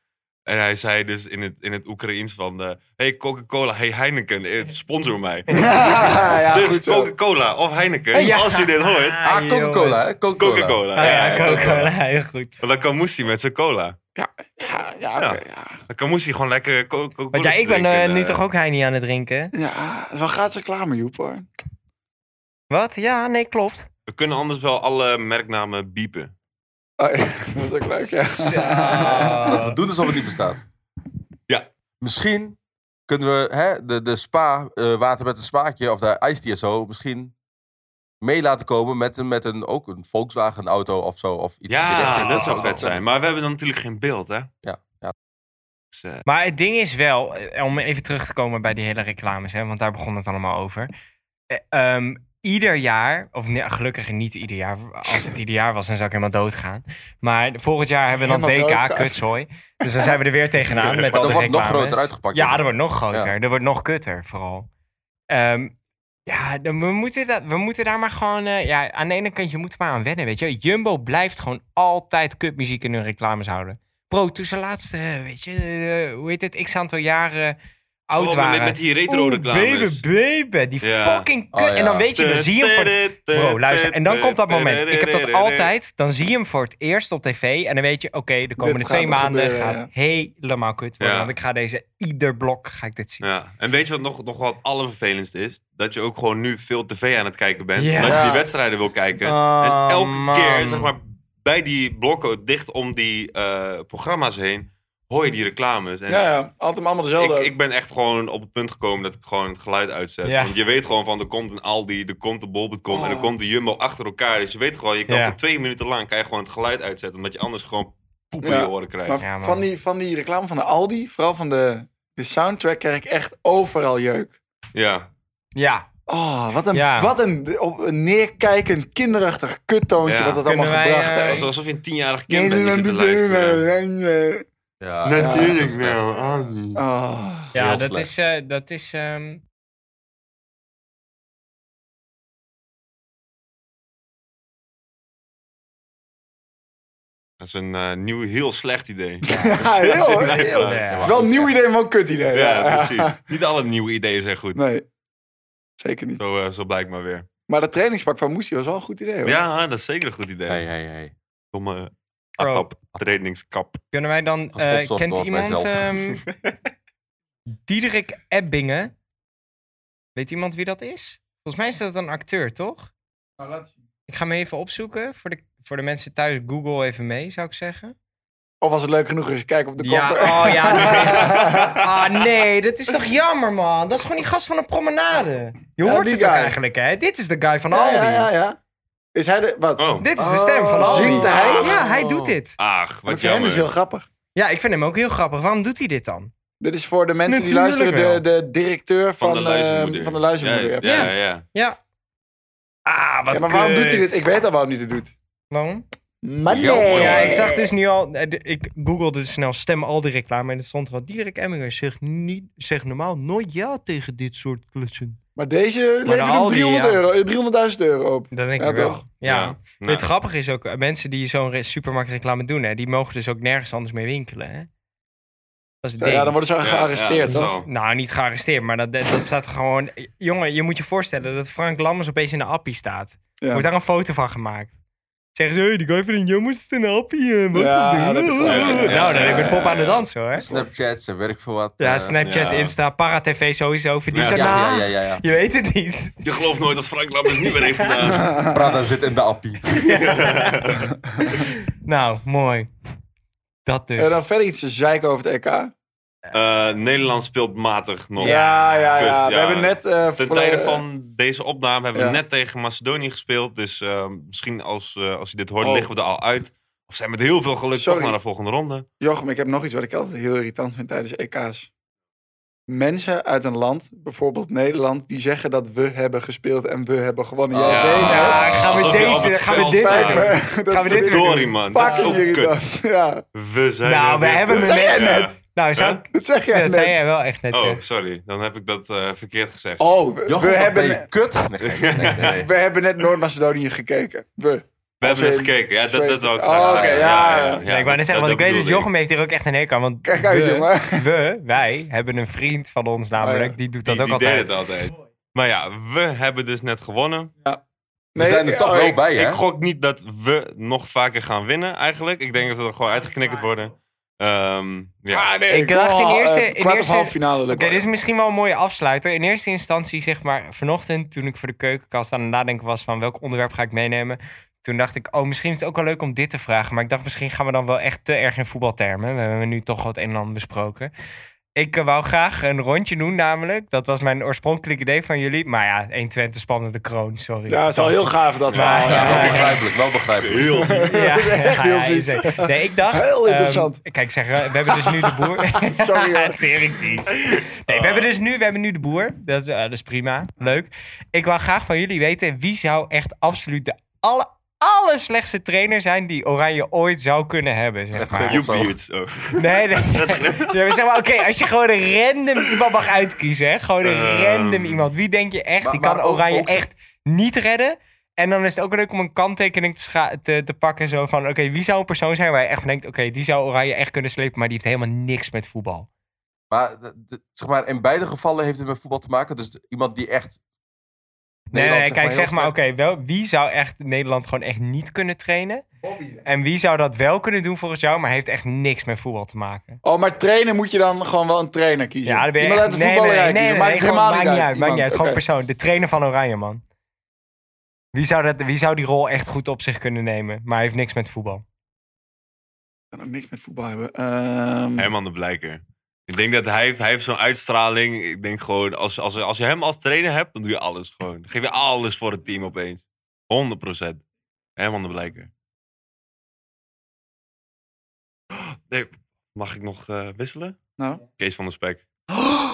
[SPEAKER 3] En hij zei dus in het, in het Oekraïens van... eh, hey Coca-Cola, hey Heineken, eh, sponsor mij.
[SPEAKER 2] Ja, ja,
[SPEAKER 3] dus
[SPEAKER 2] goed zo.
[SPEAKER 3] Coca-Cola of Heineken,
[SPEAKER 1] Ja.
[SPEAKER 3] als je dit hoort.
[SPEAKER 5] Ah, Coca-Cola, hè? Coca-Cola.
[SPEAKER 3] Coca-Cola.
[SPEAKER 1] Ah, ja, Coca-Cola, heel goed.
[SPEAKER 3] Want dan kan Moesie met zijn cola.
[SPEAKER 2] Ja, ja, oké, ja.
[SPEAKER 3] Dan kan Moesie gewoon lekker co- Coca-Cola
[SPEAKER 1] Want ja, ik ben
[SPEAKER 3] drinken.
[SPEAKER 1] eh,
[SPEAKER 3] En,
[SPEAKER 1] nu
[SPEAKER 3] eh,
[SPEAKER 1] toch ook Heini aan het drinken?
[SPEAKER 2] ja, dat is wel gratis reclame, Joep hoor.
[SPEAKER 1] Wat? Ja, nee, klopt.
[SPEAKER 3] We kunnen anders wel alle merknamen biepen.
[SPEAKER 2] Oh, ja, dat is ook leuk, ja.
[SPEAKER 5] Dat
[SPEAKER 1] Oh.
[SPEAKER 5] we doen alsof het niet bestaat.
[SPEAKER 3] Ja.
[SPEAKER 5] Misschien kunnen we hè, de, de spa, eh, water met een spaakje, of de ijs die zo, misschien mee laten komen met een, met een ook een Volkswagen auto of zo. Of iets
[SPEAKER 3] Ja,
[SPEAKER 5] dergelijks.
[SPEAKER 3] dat zou vet zijn. Maar we hebben dan natuurlijk geen beeld, hè?
[SPEAKER 5] Ja, ja.
[SPEAKER 3] Dus, eh,
[SPEAKER 1] Maar het ding is wel, eh, om even terug te komen bij die hele reclames, hè, want daar begon het allemaal over. Eh, ehm, ieder jaar, of nee, gelukkig niet ieder jaar, als het ieder jaar was, dan zou ik helemaal doodgaan. Maar volgend jaar hebben we dan
[SPEAKER 2] Helemaal
[SPEAKER 1] WK,
[SPEAKER 2] doodgaan.
[SPEAKER 1] kutzooi. Dus dan zijn we er weer tegenaan met
[SPEAKER 5] Maar
[SPEAKER 1] al
[SPEAKER 5] dan
[SPEAKER 1] die
[SPEAKER 5] wordt het nog
[SPEAKER 1] reclames.
[SPEAKER 5] groter uitgepakt.
[SPEAKER 1] Ja, dat wordt nog groter. Dat wordt nog kutter, vooral. Ehm, ja, dan- we moeten, dat, we moeten daar maar gewoon... eh, ja, aan de ene kant, je moet er maar aan wennen, weet je. Jumbo blijft gewoon altijd kutmuziek in hun reclames houden. Bro, toen ze laatste, eh, weet je, eh, hoe heet het, x aantal jaren oud
[SPEAKER 3] oh, maar met,
[SPEAKER 1] waren.
[SPEAKER 3] met die retro-reclames.
[SPEAKER 1] baby, baby, die
[SPEAKER 3] Ja.
[SPEAKER 1] fucking
[SPEAKER 5] Oh,
[SPEAKER 1] kut.
[SPEAKER 5] ja.
[SPEAKER 1] En dan weet je, dan zie je hem voor... Bro, luister, en dan komt dat moment. Ik heb dat altijd. Dan zie je hem voor het eerst op tv. En dan weet je, oké, de komende
[SPEAKER 2] gaat
[SPEAKER 1] twee
[SPEAKER 2] er
[SPEAKER 1] maanden
[SPEAKER 2] gebeuren,
[SPEAKER 1] gaat helemaal kut worden.
[SPEAKER 3] Ja.
[SPEAKER 1] Want ik ga deze, ieder blok ga ik dit zien.
[SPEAKER 3] Ja. En weet je wat nog, nog wat het allervervelendste is? Dat je ook gewoon nu veel tv aan het kijken bent.
[SPEAKER 1] Ja.
[SPEAKER 3] Dat je die wedstrijden wil kijken.
[SPEAKER 1] Oh,
[SPEAKER 3] en elke keer,
[SPEAKER 1] man.
[SPEAKER 3] zeg maar, bij die blokken dicht om die eh, programma's heen, hoor je die reclames. En
[SPEAKER 2] Ja, ja, altijd allemaal dezelfde.
[SPEAKER 3] Ik, ik ben echt gewoon op het punt gekomen dat ik gewoon het geluid uitzet.
[SPEAKER 1] Ja. Oh.
[SPEAKER 3] Want je weet gewoon van, er komt een Aldi, er komt een Bol.com en er komt een Jumbo achter elkaar. Dus je weet gewoon, je kan
[SPEAKER 1] Ja.
[SPEAKER 3] voor twee minuten lang kan je gewoon het geluid uitzetten. Omdat je anders gewoon poep in
[SPEAKER 2] Ja.
[SPEAKER 3] je oren krijgt.
[SPEAKER 2] maar
[SPEAKER 1] Ja, man.
[SPEAKER 2] van, die, van die reclame van de Aldi, vooral van de de soundtrack krijg ik echt overal jeuk.
[SPEAKER 3] Ja.
[SPEAKER 1] Ja,
[SPEAKER 2] Oh, wat een,
[SPEAKER 1] Ja.
[SPEAKER 2] wat een, op, een neerkijkend, kinderachtig kuttoontje
[SPEAKER 3] Ja.
[SPEAKER 2] dat het allemaal
[SPEAKER 1] Kunnen wij,
[SPEAKER 2] gebracht
[SPEAKER 1] eh,
[SPEAKER 2] heeft. eh,
[SPEAKER 1] Hey.
[SPEAKER 3] Alsof je een tienjarig kind bent die zit te luisteren.
[SPEAKER 2] luisteren.
[SPEAKER 5] Ja, ja, dat
[SPEAKER 3] Natuurlijk
[SPEAKER 5] is
[SPEAKER 3] wel.
[SPEAKER 5] sterk.
[SPEAKER 3] Ali.
[SPEAKER 2] Oh.
[SPEAKER 1] ja
[SPEAKER 5] Heel
[SPEAKER 1] dat,
[SPEAKER 5] slecht.
[SPEAKER 1] is, eh, dat is... ehm,
[SPEAKER 3] Dat is een eh, nieuw, heel slecht idee.
[SPEAKER 2] Ja, heel,
[SPEAKER 3] Ja,
[SPEAKER 2] heel.
[SPEAKER 3] ja.
[SPEAKER 5] Ja,
[SPEAKER 2] Het is wel een nieuw idee, maar ook een kut idee.
[SPEAKER 3] Ja, precies. Niet alle nieuwe ideeën zijn goed.
[SPEAKER 2] Nee, zeker niet.
[SPEAKER 3] Zo, eh, zo blijkt maar weer.
[SPEAKER 2] Maar dat trainingspak van Moesie was wel een goed idee hoor.
[SPEAKER 3] Ja, ah, dat is zeker een goed idee.
[SPEAKER 5] Hey, hey, hey.
[SPEAKER 3] Domme
[SPEAKER 1] Bro.
[SPEAKER 3] atap, trainingskap.
[SPEAKER 1] kunnen wij dan... eh,
[SPEAKER 5] Gesponsord
[SPEAKER 1] kent
[SPEAKER 5] door
[SPEAKER 1] iemand...
[SPEAKER 5] mijzelf.
[SPEAKER 1] ehm, Diederik Ebbingen? Weet iemand wie dat is? Volgens mij is dat een acteur, toch? Ik ga hem even opzoeken. Voor de, voor de mensen thuis, Google even mee, zou ik zeggen.
[SPEAKER 2] Of was het leuk genoeg als je kijkt op de
[SPEAKER 1] Ja,
[SPEAKER 2] koffer?
[SPEAKER 1] oh ja. het is echt- ah nee, dat is toch jammer, man. Dat is gewoon die gast van de promenade. Je
[SPEAKER 2] Ja,
[SPEAKER 1] hoort
[SPEAKER 2] die
[SPEAKER 1] het ook
[SPEAKER 2] guy.
[SPEAKER 1] eigenlijk, hè. Dit is de guy van
[SPEAKER 2] ja,
[SPEAKER 1] Aldi.
[SPEAKER 2] ja, ja, ja. Is hij de... Wat?
[SPEAKER 3] Oh,
[SPEAKER 1] Dit is de stem van
[SPEAKER 2] Oh,
[SPEAKER 1] Aldi.
[SPEAKER 2] zingt hij?
[SPEAKER 1] Ja, hij doet dit.
[SPEAKER 3] ach,
[SPEAKER 2] Maar
[SPEAKER 3] wat
[SPEAKER 2] voor hem is heel
[SPEAKER 3] jammer.
[SPEAKER 2] grappig.
[SPEAKER 1] Ja, ik vind hem ook heel grappig. Waarom doet hij dit dan?
[SPEAKER 2] Dit is voor de mensen
[SPEAKER 1] Natuurlijk
[SPEAKER 2] die luisteren, de, de directeur van,
[SPEAKER 3] Van
[SPEAKER 2] eh,
[SPEAKER 3] de luizenmoeder.
[SPEAKER 2] Van de luizenmoeder.
[SPEAKER 3] Juist,
[SPEAKER 2] ja,
[SPEAKER 3] Ja,
[SPEAKER 2] precies.
[SPEAKER 3] ja, ja.
[SPEAKER 1] Ja. Ah, wat
[SPEAKER 2] Ja, maar waarom
[SPEAKER 1] kut.
[SPEAKER 2] doet hij dit? Ik weet al waarom hij dit doet.
[SPEAKER 1] Waarom?
[SPEAKER 2] Maar
[SPEAKER 5] Ja, nee.
[SPEAKER 1] Ja, ik zag
[SPEAKER 2] dit.
[SPEAKER 1] dus nu al... eh, de- Ik googelde dus snel stem Aldi reclame en er stond wel... Diederik Emminger zegt, niet, zegt normaal nooit ja tegen dit soort klussen.
[SPEAKER 2] Maar deze levert hem
[SPEAKER 1] Aldi,
[SPEAKER 2] 300
[SPEAKER 1] ja.
[SPEAKER 2] euro, eh, 300.000 euro op.
[SPEAKER 1] Dat denk
[SPEAKER 2] Ja,
[SPEAKER 1] ik wel.
[SPEAKER 2] toch?
[SPEAKER 1] Ja.
[SPEAKER 3] Nou,
[SPEAKER 1] Het grappige is ook, eh, mensen die zo'n re- supermarktreclame doen, hè, die mogen dus ook nergens anders mee winkelen. Hè? Dat is het ding.
[SPEAKER 2] Ja, dan worden ze
[SPEAKER 3] ja,
[SPEAKER 2] gearresteerd,
[SPEAKER 3] ja, dat is
[SPEAKER 2] toch?
[SPEAKER 3] wel-
[SPEAKER 1] Nou, niet gearresteerd, maar dat, dat, dat staat gewoon... Jongen, je moet je voorstellen dat Frank Lammers opeens in de appie staat.
[SPEAKER 2] Ja.
[SPEAKER 1] Wordt daar een foto van gemaakt. Zeggen ze, hey, die guy van de jongens zit in de appie. eh, wat
[SPEAKER 2] Ja,
[SPEAKER 1] is dat
[SPEAKER 2] dat
[SPEAKER 1] ding?
[SPEAKER 2] is wel- ja, ja,
[SPEAKER 1] Nou, dan
[SPEAKER 3] ja,
[SPEAKER 1] heb je de pop
[SPEAKER 3] ja,
[SPEAKER 1] aan de
[SPEAKER 3] ja.
[SPEAKER 1] dans hoor.
[SPEAKER 5] Snapchat, ze werk voor wat.
[SPEAKER 1] Ja,
[SPEAKER 5] eh,
[SPEAKER 1] Snapchat,
[SPEAKER 3] ja.
[SPEAKER 1] Insta, ParaTV sowieso, verdient
[SPEAKER 3] Ja,
[SPEAKER 5] Ja,
[SPEAKER 1] daarna.
[SPEAKER 5] ja, ja, ja. ja.
[SPEAKER 1] Je weet het niet.
[SPEAKER 3] Je gelooft nooit dat Frank Lammers niet meer heeft gedaan.
[SPEAKER 5] Prada zit in de appie.
[SPEAKER 1] Nou, mooi. Dat dus.
[SPEAKER 2] En dan verder iets te zeiken over het EK. Ja,
[SPEAKER 3] Eh, Nederland speelt matig nog.
[SPEAKER 2] ja, ja.
[SPEAKER 3] Kut, ja.
[SPEAKER 2] We hebben net... eh,
[SPEAKER 3] Ten
[SPEAKER 2] voor-
[SPEAKER 3] tijde
[SPEAKER 2] eh,
[SPEAKER 3] van deze opname hebben we
[SPEAKER 2] Ja.
[SPEAKER 3] net tegen Macedonië gespeeld. Dus eh, misschien als, eh, als je dit hoort,
[SPEAKER 2] Oh.
[SPEAKER 3] liggen we er al uit. Of zijn we met heel veel geluk
[SPEAKER 2] Sorry.
[SPEAKER 3] toch naar de volgende ronde.
[SPEAKER 2] Jochem, ik heb nog iets wat ik altijd heel irritant vind tijdens EK's. Mensen uit een land, bijvoorbeeld Nederland, die zeggen dat we hebben gespeeld en we hebben gewonnen. Jij
[SPEAKER 3] Ja.
[SPEAKER 2] weet het.
[SPEAKER 1] Ja, gaan we
[SPEAKER 3] Alsof je op
[SPEAKER 1] deze,
[SPEAKER 3] het
[SPEAKER 1] gaan we
[SPEAKER 3] veld
[SPEAKER 1] Ah, dit
[SPEAKER 3] staat.
[SPEAKER 1] doen?
[SPEAKER 2] Maar dat
[SPEAKER 1] Gaan we dit
[SPEAKER 2] vind ik
[SPEAKER 1] weer
[SPEAKER 3] Dory man, dat is
[SPEAKER 2] Fucking
[SPEAKER 3] ook kut.
[SPEAKER 2] irritant. Ja,
[SPEAKER 3] We zijn
[SPEAKER 1] Nou,
[SPEAKER 3] er
[SPEAKER 1] we
[SPEAKER 3] weer.
[SPEAKER 1] hebben
[SPEAKER 2] dat
[SPEAKER 1] hem
[SPEAKER 2] zei jij
[SPEAKER 1] net.
[SPEAKER 3] Ja.
[SPEAKER 2] net.
[SPEAKER 1] Nou, zou
[SPEAKER 3] Huh?
[SPEAKER 1] ik-
[SPEAKER 2] Dat zeg jij
[SPEAKER 1] dat
[SPEAKER 2] net.
[SPEAKER 1] zei jij wel echt net. hè?
[SPEAKER 3] Oh, sorry. Dan heb ik dat eh, verkeerd gezegd.
[SPEAKER 2] Oh, we,
[SPEAKER 5] Jochem,
[SPEAKER 2] we
[SPEAKER 5] wat
[SPEAKER 2] hebben,
[SPEAKER 5] ben je kut. Nee, nee, nee, nee.
[SPEAKER 2] we hebben net Noord-Macedonië gekeken. We.
[SPEAKER 3] we hebben
[SPEAKER 2] als
[SPEAKER 3] het
[SPEAKER 2] in-
[SPEAKER 3] gekeken. Ja, dat, dat wou ik
[SPEAKER 2] Oh,
[SPEAKER 3] graag
[SPEAKER 2] oké,
[SPEAKER 3] zeggen.
[SPEAKER 2] ja, ja.
[SPEAKER 1] Nee, ik wou net zeggen, want ik weet dat
[SPEAKER 3] bedoelde
[SPEAKER 1] Jochem heeft hier ook echt een hekel aan. Want
[SPEAKER 2] Kijk uit,
[SPEAKER 1] we,
[SPEAKER 2] jongen.
[SPEAKER 1] we, wij, hebben een vriend van ons namelijk,
[SPEAKER 2] Oh ja.
[SPEAKER 1] die doet dat
[SPEAKER 3] Die,
[SPEAKER 1] ook
[SPEAKER 3] die deed
[SPEAKER 1] altijd.
[SPEAKER 3] het altijd. Maar ja, we hebben dus net gewonnen.
[SPEAKER 5] We zijn er toch
[SPEAKER 2] oh,
[SPEAKER 5] wel
[SPEAKER 2] ik-
[SPEAKER 5] bij, hè?
[SPEAKER 3] Ik gok niet dat we nog vaker gaan winnen eigenlijk. Ik denk dat we er gewoon uitgeknikkerd worden. Ehm, ja.
[SPEAKER 2] Ah, nee,
[SPEAKER 1] Ik dacht in
[SPEAKER 2] wil, eh,
[SPEAKER 1] eerste- in
[SPEAKER 2] kwart of
[SPEAKER 1] eerste-
[SPEAKER 2] halve finale
[SPEAKER 1] Oké,
[SPEAKER 2] lukken.
[SPEAKER 1] dit is misschien wel een mooie afsluiter. In eerste instantie, zeg maar, vanochtend toen ik voor de keukenkast aan het nadenken was van welk onderwerp ga ik meenemen. Toen dacht ik, oh, misschien is het ook wel leuk om dit te vragen. Maar ik dacht, misschien gaan we dan wel echt te erg in voetbaltermen. We hebben nu toch wat een en ander besproken. Ik eh, wou graag een rondje doen namelijk. Dat was mijn oorspronkelijke idee van jullie. Maar ja, 120 spande de kroon, sorry.
[SPEAKER 2] Ja, het is wel heel gaaf dat verhaal.
[SPEAKER 1] Ja,
[SPEAKER 5] Wel
[SPEAKER 2] Ja.
[SPEAKER 5] begrijpelijk, wel begrijpelijk.
[SPEAKER 3] Heel
[SPEAKER 1] Ja,
[SPEAKER 2] Echt
[SPEAKER 1] ja,
[SPEAKER 2] heel
[SPEAKER 1] ja,
[SPEAKER 2] ziek.
[SPEAKER 1] zeker. Nee, ik dacht...
[SPEAKER 2] Heel
[SPEAKER 1] ehm,
[SPEAKER 2] interessant.
[SPEAKER 1] kijk, zeg, we hebben dus nu de boer.
[SPEAKER 2] Sorry, hoor.
[SPEAKER 1] Teringdienst. Nee, we hebben dus nu, we hebben nu de boer. Dat is, eh, dat is prima. Leuk. Ik wou graag van jullie weten, wie zou echt absoluut de alle, alle slechtste trainer zijn die Oranje ooit zou kunnen hebben, zeg maar.
[SPEAKER 3] You beaut. Oh.
[SPEAKER 1] Nee, nee. Ja, maar zeg maar, oké, als je gewoon een random iemand mag uitkiezen, hè. Gewoon een
[SPEAKER 3] Ehm.
[SPEAKER 1] random iemand. Wie denk je echt,
[SPEAKER 5] Maar-
[SPEAKER 1] die
[SPEAKER 5] maar
[SPEAKER 1] kan
[SPEAKER 5] ook-
[SPEAKER 1] Oranje
[SPEAKER 5] ook-
[SPEAKER 1] echt niet redden? En dan is het ook leuk om een kanttekening te, scha- te, te pakken. Zo van, oké, wie zou een persoon zijn waar je echt van denkt... Oké, die zou Oranje echt kunnen slepen, maar die heeft helemaal niks met voetbal.
[SPEAKER 5] Maar, d- d- zeg maar in beide gevallen heeft het met voetbal te maken. Dus d- iemand die echt.
[SPEAKER 1] Nee, nee,
[SPEAKER 5] Nederland,
[SPEAKER 1] kijk,
[SPEAKER 5] heel
[SPEAKER 1] zeg maar,
[SPEAKER 5] sterk-
[SPEAKER 1] oké, wel, wie zou echt Nederland gewoon echt niet kunnen trainen? En wie zou dat wel kunnen doen volgens jou, maar heeft echt niks met voetbal te maken?
[SPEAKER 2] Oh, maar trainen moet je dan gewoon wel een trainer kiezen.
[SPEAKER 1] Ja, dan ben je
[SPEAKER 2] Iemand
[SPEAKER 1] echt-
[SPEAKER 2] uit de voetballerij kiezen. Maakt het
[SPEAKER 1] gewoon-
[SPEAKER 2] helemaal
[SPEAKER 1] maakt
[SPEAKER 2] niet uit.
[SPEAKER 1] Maakt niet uit, gewoon
[SPEAKER 2] Iemand, oké.
[SPEAKER 1] persoon. De trainer van Oranje, man. Wie zou, dat, wie zou die rol echt goed op zich kunnen nemen, maar heeft niks met voetbal?
[SPEAKER 2] Ik kan ook niks met voetbal hebben. Ehm,
[SPEAKER 3] Herman de Blijker. Ik denk dat hij, heeft- hij heeft zo'n uitstraling. Ik denk gewoon, als, als, als je hem als trainer hebt, dan doe je alles gewoon. Dan geef je alles voor het team opeens. 100%. Herman de Blijker. Nee, mag ik nog eh, wisselen?
[SPEAKER 2] Nou.
[SPEAKER 3] Kees van der Spek.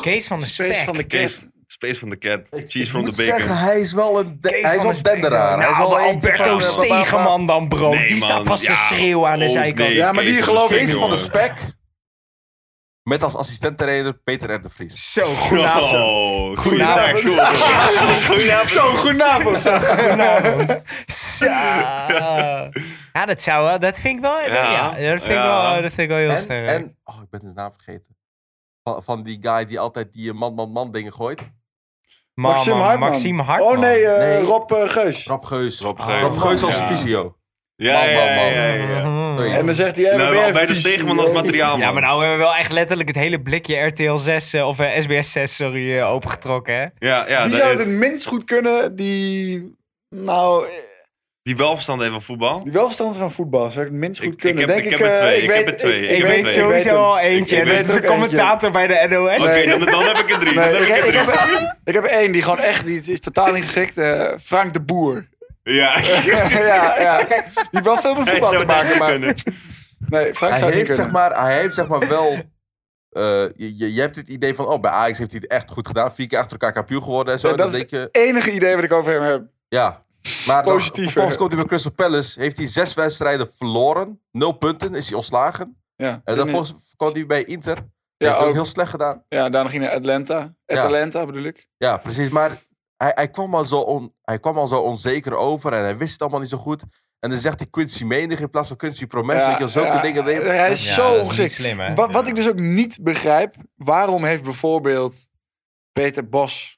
[SPEAKER 1] Kees van de
[SPEAKER 2] Space
[SPEAKER 1] Spek.
[SPEAKER 2] van Nou. de
[SPEAKER 3] Kees,
[SPEAKER 2] Cat.
[SPEAKER 3] Space from the Cat. Cheese from
[SPEAKER 5] moet
[SPEAKER 3] the Bacon.
[SPEAKER 5] zeggen, hij is wel een de-
[SPEAKER 1] Kees
[SPEAKER 5] hij is
[SPEAKER 1] van
[SPEAKER 5] wel
[SPEAKER 1] de Spek.
[SPEAKER 5] denderaar. hij is
[SPEAKER 1] Nou,
[SPEAKER 5] wel
[SPEAKER 1] de
[SPEAKER 5] eentje van,
[SPEAKER 1] Alberto
[SPEAKER 5] eh, waar- waar-
[SPEAKER 1] Stegeman dan, bro.
[SPEAKER 3] Nee,
[SPEAKER 1] die staat
[SPEAKER 3] man.
[SPEAKER 1] pas
[SPEAKER 3] Ja,
[SPEAKER 1] te schreeuwen aan de
[SPEAKER 3] ook
[SPEAKER 1] zijkant.
[SPEAKER 3] nee,
[SPEAKER 2] Ja, maar die
[SPEAKER 3] Kees
[SPEAKER 2] geloof ik
[SPEAKER 5] Kees
[SPEAKER 2] niet,
[SPEAKER 5] van de
[SPEAKER 3] jongen.
[SPEAKER 5] Spek. Met als assistent-trainer Peter R. de Vries.
[SPEAKER 1] Zo, goedenavond.
[SPEAKER 3] Oh,
[SPEAKER 1] Goedenavond.
[SPEAKER 3] goedenavond. Goedenavond.
[SPEAKER 2] Zo, goedenavond.
[SPEAKER 1] Goedenavond. Zo. Ja, dat zou wel, dat vind ik wel, ja.
[SPEAKER 3] Ja.
[SPEAKER 1] dat, vind ik
[SPEAKER 3] Ja.
[SPEAKER 1] wel dat vind ik wel heel
[SPEAKER 5] En,
[SPEAKER 1] sterk.
[SPEAKER 5] en oh, ik ben de naam vergeten. Van, van die guy die altijd die eh, man, man, man dingen gooit.
[SPEAKER 1] Mama,
[SPEAKER 2] Maxime Hartman.
[SPEAKER 1] Maxime Hartman.
[SPEAKER 2] Oh nee, eh,
[SPEAKER 5] Nee.
[SPEAKER 2] Rob eh, Geus.
[SPEAKER 5] Rob Geus.
[SPEAKER 3] Rob
[SPEAKER 1] Geus.
[SPEAKER 5] Rob Geus als
[SPEAKER 3] Ja.
[SPEAKER 5] visio.
[SPEAKER 3] Ja, ja, ja, ja, ja, ja.
[SPEAKER 1] Mhm.
[SPEAKER 2] En dan zegt hij... eh,
[SPEAKER 3] Nou,
[SPEAKER 2] ben jij
[SPEAKER 3] Alberto
[SPEAKER 2] vies?
[SPEAKER 3] Stegeman als materiaal, man.
[SPEAKER 1] Ja, maar nou hebben we wel echt letterlijk het hele blikje RTL 6, eh, of eh, SBS 6, sorry, eh, opengetrokken, hè?
[SPEAKER 3] Ja, ja,
[SPEAKER 2] Die
[SPEAKER 3] dat
[SPEAKER 2] zou
[SPEAKER 3] is-
[SPEAKER 2] het minst goed kunnen die... Nou, eh,
[SPEAKER 3] Die wel verstand heeft van voetbal.
[SPEAKER 2] die wel verstand heeft van voetbal zou ik het minst goed
[SPEAKER 3] Ik- ik
[SPEAKER 2] kunnen.
[SPEAKER 3] heb-
[SPEAKER 2] Denk
[SPEAKER 3] ik heb er
[SPEAKER 2] eh,
[SPEAKER 3] twee,
[SPEAKER 2] Ik
[SPEAKER 3] ik heb
[SPEAKER 2] weet-
[SPEAKER 3] er twee,
[SPEAKER 2] ik-
[SPEAKER 3] ik
[SPEAKER 1] Ik
[SPEAKER 3] heb
[SPEAKER 2] weet
[SPEAKER 1] weet
[SPEAKER 3] twee.
[SPEAKER 2] ik weet
[SPEAKER 1] sowieso
[SPEAKER 2] hem.
[SPEAKER 1] al eentje.
[SPEAKER 3] Ik
[SPEAKER 1] en
[SPEAKER 3] weet
[SPEAKER 1] dat is
[SPEAKER 2] ook
[SPEAKER 1] een
[SPEAKER 2] eentje.
[SPEAKER 1] commentator bij de NOS.
[SPEAKER 3] Oké, dan, dan heb ik er drie.
[SPEAKER 2] Nee,
[SPEAKER 3] dan
[SPEAKER 2] ik,
[SPEAKER 3] heb ik er
[SPEAKER 2] ik,
[SPEAKER 3] drie.
[SPEAKER 2] heb, ik heb één die gewoon echt niet is totaal niet geschikt. eh, Frank de Boer.
[SPEAKER 3] Ja,
[SPEAKER 2] ja, ja. Die wel veel met
[SPEAKER 3] hij
[SPEAKER 2] voetbal
[SPEAKER 3] zou
[SPEAKER 2] te
[SPEAKER 3] het
[SPEAKER 2] maken,
[SPEAKER 3] eigenlijk
[SPEAKER 2] maar...
[SPEAKER 3] kunnen.
[SPEAKER 2] Nee, Frank
[SPEAKER 5] Hij
[SPEAKER 2] zou het niet
[SPEAKER 5] heeft, zeg
[SPEAKER 2] kunnen.
[SPEAKER 5] maar, hij heeft zeg maar wel... eh, je, je, je hebt het idee van, oh, bij Ajax heeft hij het echt goed gedaan. Vier keer achter elkaar kampioen geworden en zo.
[SPEAKER 2] Ja,
[SPEAKER 5] En dan
[SPEAKER 2] dat is
[SPEAKER 5] denk je,
[SPEAKER 2] enige idee wat ik over hem heb.
[SPEAKER 5] ja. Maar dan,
[SPEAKER 2] Positief,
[SPEAKER 5] vervolgens
[SPEAKER 2] hè?
[SPEAKER 5] komt hij bij Crystal Palace. Heeft hij zes wedstrijden verloren. Nul punten, is hij ontslagen.
[SPEAKER 2] Ja,
[SPEAKER 5] En dan vervolgens kwam hij bij Inter.
[SPEAKER 2] ja,
[SPEAKER 5] Ja, heeft hij ook
[SPEAKER 2] ook.
[SPEAKER 5] heel slecht gedaan.
[SPEAKER 2] ja, daarna ging hij naar Atlanta.
[SPEAKER 5] Ja.
[SPEAKER 2] Atlanta bedoel ik.
[SPEAKER 5] Ja, precies. Maar hij, hij, kwam al zo on, hij kwam al zo onzeker over en hij wist het allemaal niet zo goed. En dan zegt hij Quincy Menig in plaats van Quincy Promes.
[SPEAKER 2] Ja,
[SPEAKER 5] Weet je, wel, zulke
[SPEAKER 2] ja,
[SPEAKER 5] dingen. dat je-
[SPEAKER 2] Hij is
[SPEAKER 1] Ja,
[SPEAKER 2] zo
[SPEAKER 1] dat is niet
[SPEAKER 2] ongeschikt.
[SPEAKER 1] slim, hè?
[SPEAKER 2] Wat, wat ik dus ook niet begrijp, waarom heeft bijvoorbeeld Peter Bos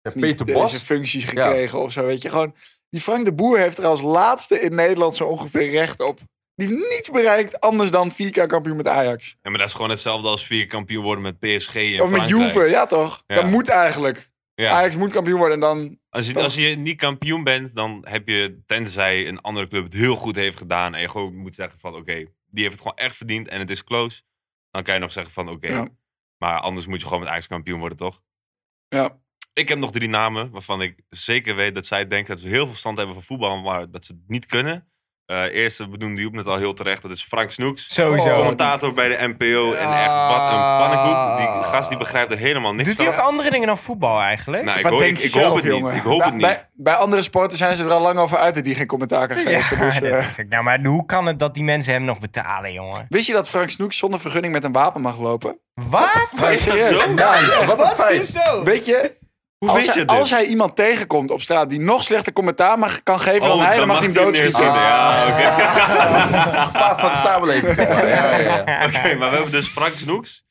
[SPEAKER 5] Ja,
[SPEAKER 2] niet
[SPEAKER 5] Peter
[SPEAKER 2] deze
[SPEAKER 5] Bos.
[SPEAKER 2] functies gekregen of zo, weet je. Gewoon, die Frank de Boer heeft er als laatste in Nederland zo ongeveer recht op. Die heeft niets bereikt anders dan vier keer kampioen met Ajax.
[SPEAKER 3] Ja, maar dat is gewoon hetzelfde als vier kampioen worden met PSG en
[SPEAKER 2] of met
[SPEAKER 3] Frankrijk.
[SPEAKER 2] Juve, ja toch?
[SPEAKER 3] Ja.
[SPEAKER 2] Dat moet eigenlijk.
[SPEAKER 3] Ja.
[SPEAKER 2] Ajax moet kampioen worden en dan...
[SPEAKER 3] Als, je, als je niet kampioen bent, dan heb je, tenzij een andere club het heel goed heeft gedaan... en je gewoon moet zeggen van, oké, die heeft het gewoon echt verdiend en het is close... dan kan je nog zeggen van, oké,
[SPEAKER 2] Ja.
[SPEAKER 3] maar anders moet je gewoon met Ajax kampioen worden, toch?
[SPEAKER 2] Ja.
[SPEAKER 3] Ik heb nog drie namen waarvan ik zeker weet dat zij denken dat ze heel veel verstand hebben van voetbal, maar dat ze het niet kunnen. Eh eerste benoemde Joep net al heel terecht, dat is Frank Snoeks.
[SPEAKER 1] Sowieso.
[SPEAKER 2] Oh,
[SPEAKER 3] Commentator bij de NPO en echt wat een pannenkoek. Die gast die begrijpt er helemaal niks
[SPEAKER 1] Doet
[SPEAKER 3] van.
[SPEAKER 1] hij ook andere dingen dan voetbal eigenlijk?
[SPEAKER 3] nou, ik,
[SPEAKER 2] Wat
[SPEAKER 3] hoop-
[SPEAKER 2] denk
[SPEAKER 3] ik-
[SPEAKER 2] je
[SPEAKER 3] ik hoop
[SPEAKER 2] zelf,
[SPEAKER 3] het niet.
[SPEAKER 2] jongen?
[SPEAKER 3] Ik hoop
[SPEAKER 2] Bij-
[SPEAKER 3] het niet.
[SPEAKER 2] Bij, bij andere sporten zijn ze er al lang over uit dat die geen commentaar kan
[SPEAKER 1] Ja,
[SPEAKER 2] geven. dus,
[SPEAKER 1] dat
[SPEAKER 2] eh,
[SPEAKER 1] is ook- nou, maar hoe kan het dat die mensen hem nog betalen, jongen?
[SPEAKER 2] Wist je dat Frank Snoeks zonder vergunning met een wapen mag lopen?
[SPEAKER 1] Wat?
[SPEAKER 3] Is dat
[SPEAKER 2] serieus?
[SPEAKER 3] zo?
[SPEAKER 5] Nice, wat een feit.
[SPEAKER 1] Hoezo?
[SPEAKER 2] Weet je,
[SPEAKER 3] Hoe
[SPEAKER 2] als,
[SPEAKER 3] weet
[SPEAKER 2] hij,
[SPEAKER 3] je dus? dit?
[SPEAKER 2] als hij iemand tegenkomt op straat die nog slechter commentaar mag, kan geven
[SPEAKER 3] Oh,
[SPEAKER 2] dan hij, dan mag hij hem
[SPEAKER 3] neerschieten.
[SPEAKER 2] doodschieten.
[SPEAKER 3] Ja, oké.
[SPEAKER 5] Ah. Gevaar van de samenleving. zeg maar. Ja, ja, ja.
[SPEAKER 3] Oké, maar we hebben dus Frank Snoeks.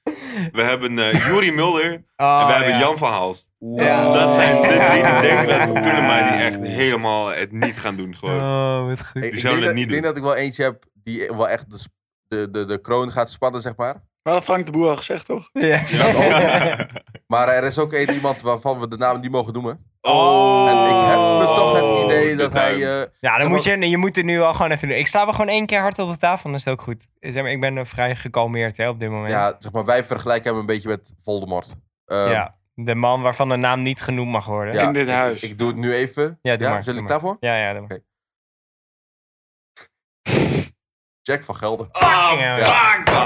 [SPEAKER 3] We hebben eh Juri Mulder. en
[SPEAKER 1] Oh,
[SPEAKER 3] we hebben
[SPEAKER 1] ja.
[SPEAKER 3] Jan van Hals.
[SPEAKER 2] Ja.
[SPEAKER 3] Dat zijn de drie die denken dat ze het kunnen, maar die echt helemaal het niet gaan doen. Gewoon.
[SPEAKER 1] Oh, wat goed.
[SPEAKER 5] Ik, ik,
[SPEAKER 3] zouden
[SPEAKER 5] denk
[SPEAKER 3] het
[SPEAKER 5] dat,
[SPEAKER 3] niet
[SPEAKER 5] ik denk
[SPEAKER 3] doen.
[SPEAKER 5] dat ik wel eentje heb die wel echt de, sp- de, de, de kroon gaat spannen, zeg maar.
[SPEAKER 2] Maar dat Frank de Boer al gezegd, toch?
[SPEAKER 1] Ja.
[SPEAKER 5] Maar er is ook één iemand waarvan we de naam niet mogen noemen.
[SPEAKER 3] Oh,
[SPEAKER 5] En ik heb toch het idee
[SPEAKER 3] de
[SPEAKER 5] dat hij...
[SPEAKER 3] duim.
[SPEAKER 5] eh,
[SPEAKER 1] Ja, dan
[SPEAKER 5] Zeg
[SPEAKER 1] moet
[SPEAKER 5] maar-
[SPEAKER 1] je, je moet het nu al gewoon even doen. Ik sla wel gewoon één keer hard op de tafel, dan is het ook goed. Zeg maar, ik ben eh, vrij gekalmeerd hè, op dit moment.
[SPEAKER 5] ja, zeg maar, wij vergelijken hem een beetje met Voldemort. Eh,
[SPEAKER 1] Ja. De man waarvan de naam niet genoemd mag worden.
[SPEAKER 5] Ja,
[SPEAKER 2] in dit
[SPEAKER 5] ik-
[SPEAKER 2] huis.
[SPEAKER 5] Ik doe het nu even.
[SPEAKER 1] Ja, doe maar,
[SPEAKER 5] Zit
[SPEAKER 1] doe
[SPEAKER 5] ik
[SPEAKER 1] maar.
[SPEAKER 5] daarvoor?
[SPEAKER 1] Ja, ja, doe maar.
[SPEAKER 5] Jack van Gelder.
[SPEAKER 3] Ah,
[SPEAKER 5] eh,
[SPEAKER 1] Ja.
[SPEAKER 3] fuck, man.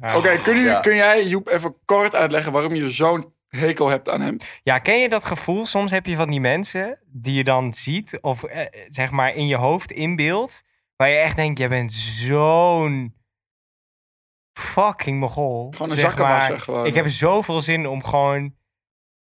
[SPEAKER 1] Ah.
[SPEAKER 2] Oké, kun, je-
[SPEAKER 5] Ja.
[SPEAKER 2] kun jij Joep even kort uitleggen waarom je zo'n hekel hebt aan hem?
[SPEAKER 1] Ja, ken je dat gevoel? Soms heb je van die mensen die je dan ziet, of eh, zeg maar in je hoofd inbeeldt, waar je echt denkt, jij bent zo'n fucking mogol.
[SPEAKER 2] Gewoon een
[SPEAKER 1] Zeg
[SPEAKER 2] zakkenwasser
[SPEAKER 1] maar,
[SPEAKER 2] gewoon. eh.
[SPEAKER 1] Ik heb zoveel zin om gewoon,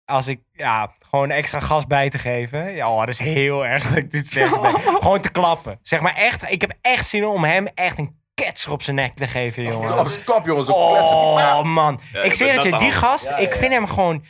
[SPEAKER 1] als ik, ja, gewoon extra gas bij te geven. Ja, oh, dat is heel erg dat ik dit zeg. maar gewoon te klappen. Zeg maar echt, ik heb echt zin om hem echt een ketser op zijn nek te geven, jongen.
[SPEAKER 5] Oh, zijn kap, jongens. Zo kletsen.
[SPEAKER 2] Ah!
[SPEAKER 1] Oh man,
[SPEAKER 3] Ja,
[SPEAKER 1] ik
[SPEAKER 3] je
[SPEAKER 1] zweer
[SPEAKER 3] bent
[SPEAKER 1] het je,
[SPEAKER 3] nat
[SPEAKER 1] die
[SPEAKER 3] aan.
[SPEAKER 1] gast, ik vind hem gewoon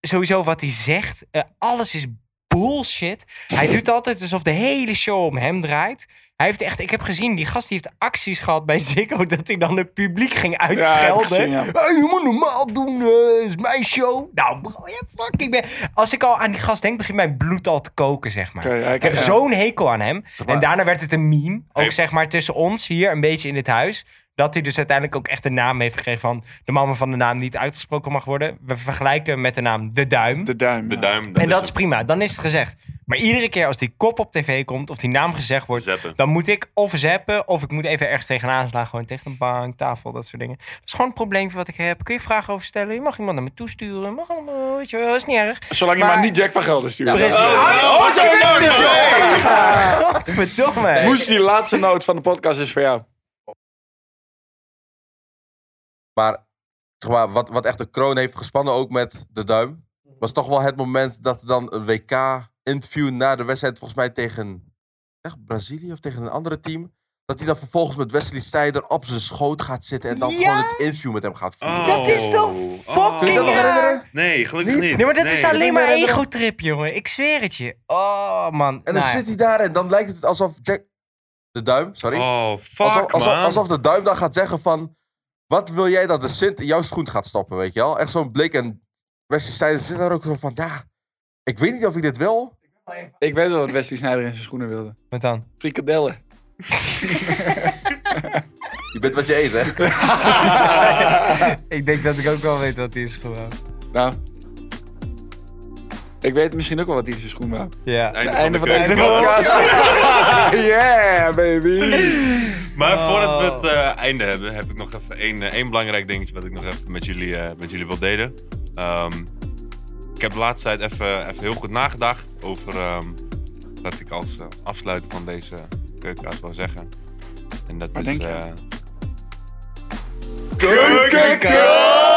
[SPEAKER 1] sowieso wat hij zegt, eh, alles is bullshit. Hij doet altijd alsof de hele show om hem draait. Hij heeft echt, ik heb gezien, die gast die heeft acties gehad bij Ziggo dat hij dan het publiek ging
[SPEAKER 2] heb ik
[SPEAKER 1] uitschelden.
[SPEAKER 2] gezien, ja.
[SPEAKER 1] Hey, je moet normaal doen, eh, is mijn show. Nou, bro, ja, fuck, ik ben... Als ik al aan die gast denk, begint mijn bloed al te koken, zeg maar.
[SPEAKER 2] Oké, ja,
[SPEAKER 1] ik heb
[SPEAKER 2] ja.
[SPEAKER 1] zo'n hekel aan hem.
[SPEAKER 5] maar-
[SPEAKER 1] En daarna werd het een meme, ook
[SPEAKER 3] Hey.
[SPEAKER 1] zeg maar tussen ons hier, een beetje in dit huis. Dat hij dus uiteindelijk ook echt de naam heeft gegeven van de man waarvan de naam niet uitgesproken mag worden. We vergelijken hem met de naam De Duim.
[SPEAKER 2] De duim.
[SPEAKER 3] De duim.
[SPEAKER 1] en dat
[SPEAKER 3] is
[SPEAKER 1] is prima, dan is het gezegd. Maar iedere keer als die kop op tv komt of die naam gezegd wordt,
[SPEAKER 3] Zetten.
[SPEAKER 1] dan moet ik of zappen of ik moet even ergens tegenaan slaan. Gewoon tegen een bank, tafel, dat soort dingen. Dat is gewoon een probleempje wat ik heb. Kun je vragen over stellen? Je mag iemand naar me toesturen. Mag allemaal, weet je wel, is niet erg.
[SPEAKER 2] Zolang je
[SPEAKER 1] Maar-
[SPEAKER 2] maar, niet Jack van Gelder stuurt.
[SPEAKER 1] Precies.
[SPEAKER 3] Oh, wat je bent er zo. Oh.
[SPEAKER 1] Godverdomme.
[SPEAKER 2] Moest die laatste noot van de podcast is voor jou.
[SPEAKER 5] Maar, zeg maar wat, wat echt de kroon heeft gespannen, ook met de duim, was toch wel het moment dat er dan een WK-interview na de wedstrijd, volgens mij tegen echt, Brazilië of tegen een andere team, dat hij dan vervolgens met Wesley Sneijder op zijn schoot gaat zitten en dan
[SPEAKER 1] Ja?
[SPEAKER 5] gewoon het interview met hem gaat voeren.
[SPEAKER 3] Oh.
[SPEAKER 1] Dat is toch
[SPEAKER 3] Oh. Kun
[SPEAKER 1] fucking
[SPEAKER 3] je dat nog
[SPEAKER 1] raar?
[SPEAKER 5] herinneren?
[SPEAKER 3] Nee, gelukkig niet.
[SPEAKER 1] Nee, maar dat is alleen maar
[SPEAKER 5] Nee.
[SPEAKER 1] ego-trip, jongen. Ik zweer het je. Oh, man.
[SPEAKER 5] En dan
[SPEAKER 1] Nou ja.
[SPEAKER 5] zit hij daar en dan lijkt het alsof Jack... De duim, sorry.
[SPEAKER 3] Oh, fuck,
[SPEAKER 5] alsof, alsof,
[SPEAKER 3] man.
[SPEAKER 5] alsof de duim dan gaat zeggen van... Wat wil jij dat de Sint in jouw schoen gaat stoppen, weet je wel? Echt zo'n blik en Wesley Sneijder zit daar ook zo van... Ja, ik weet niet of ik dit wil.
[SPEAKER 2] Ik weet wel wat Wesley Sneijder in zijn schoenen wilde.
[SPEAKER 1] Wat dan?
[SPEAKER 2] Frikadellen.
[SPEAKER 5] Je bent wat je eet, hè?
[SPEAKER 1] Ik denk dat ik ook wel weet wat hij is gewoon.
[SPEAKER 2] Nou. Ik weet misschien ook wel wat hij in zijn schoen wou.
[SPEAKER 1] Ja.
[SPEAKER 3] Einde van
[SPEAKER 2] Einde
[SPEAKER 3] de
[SPEAKER 2] van deze
[SPEAKER 3] keuze, brothers.
[SPEAKER 2] podcast. yeah, baby.
[SPEAKER 3] Maar
[SPEAKER 1] Oh.
[SPEAKER 3] voordat we het eh, einde hebben, heb ik nog even één, eh, één belangrijk dingetje wat ik nog even met jullie, eh, met jullie wil delen. Ehm, ik heb de laatste tijd even, even heel goed nagedacht over ehm, wat ik als, eh, als afsluiter van deze keukenkaas wou zeggen. En dat
[SPEAKER 2] Wat
[SPEAKER 3] is...
[SPEAKER 2] denk je?
[SPEAKER 3] eh,
[SPEAKER 2] Keukenkaas!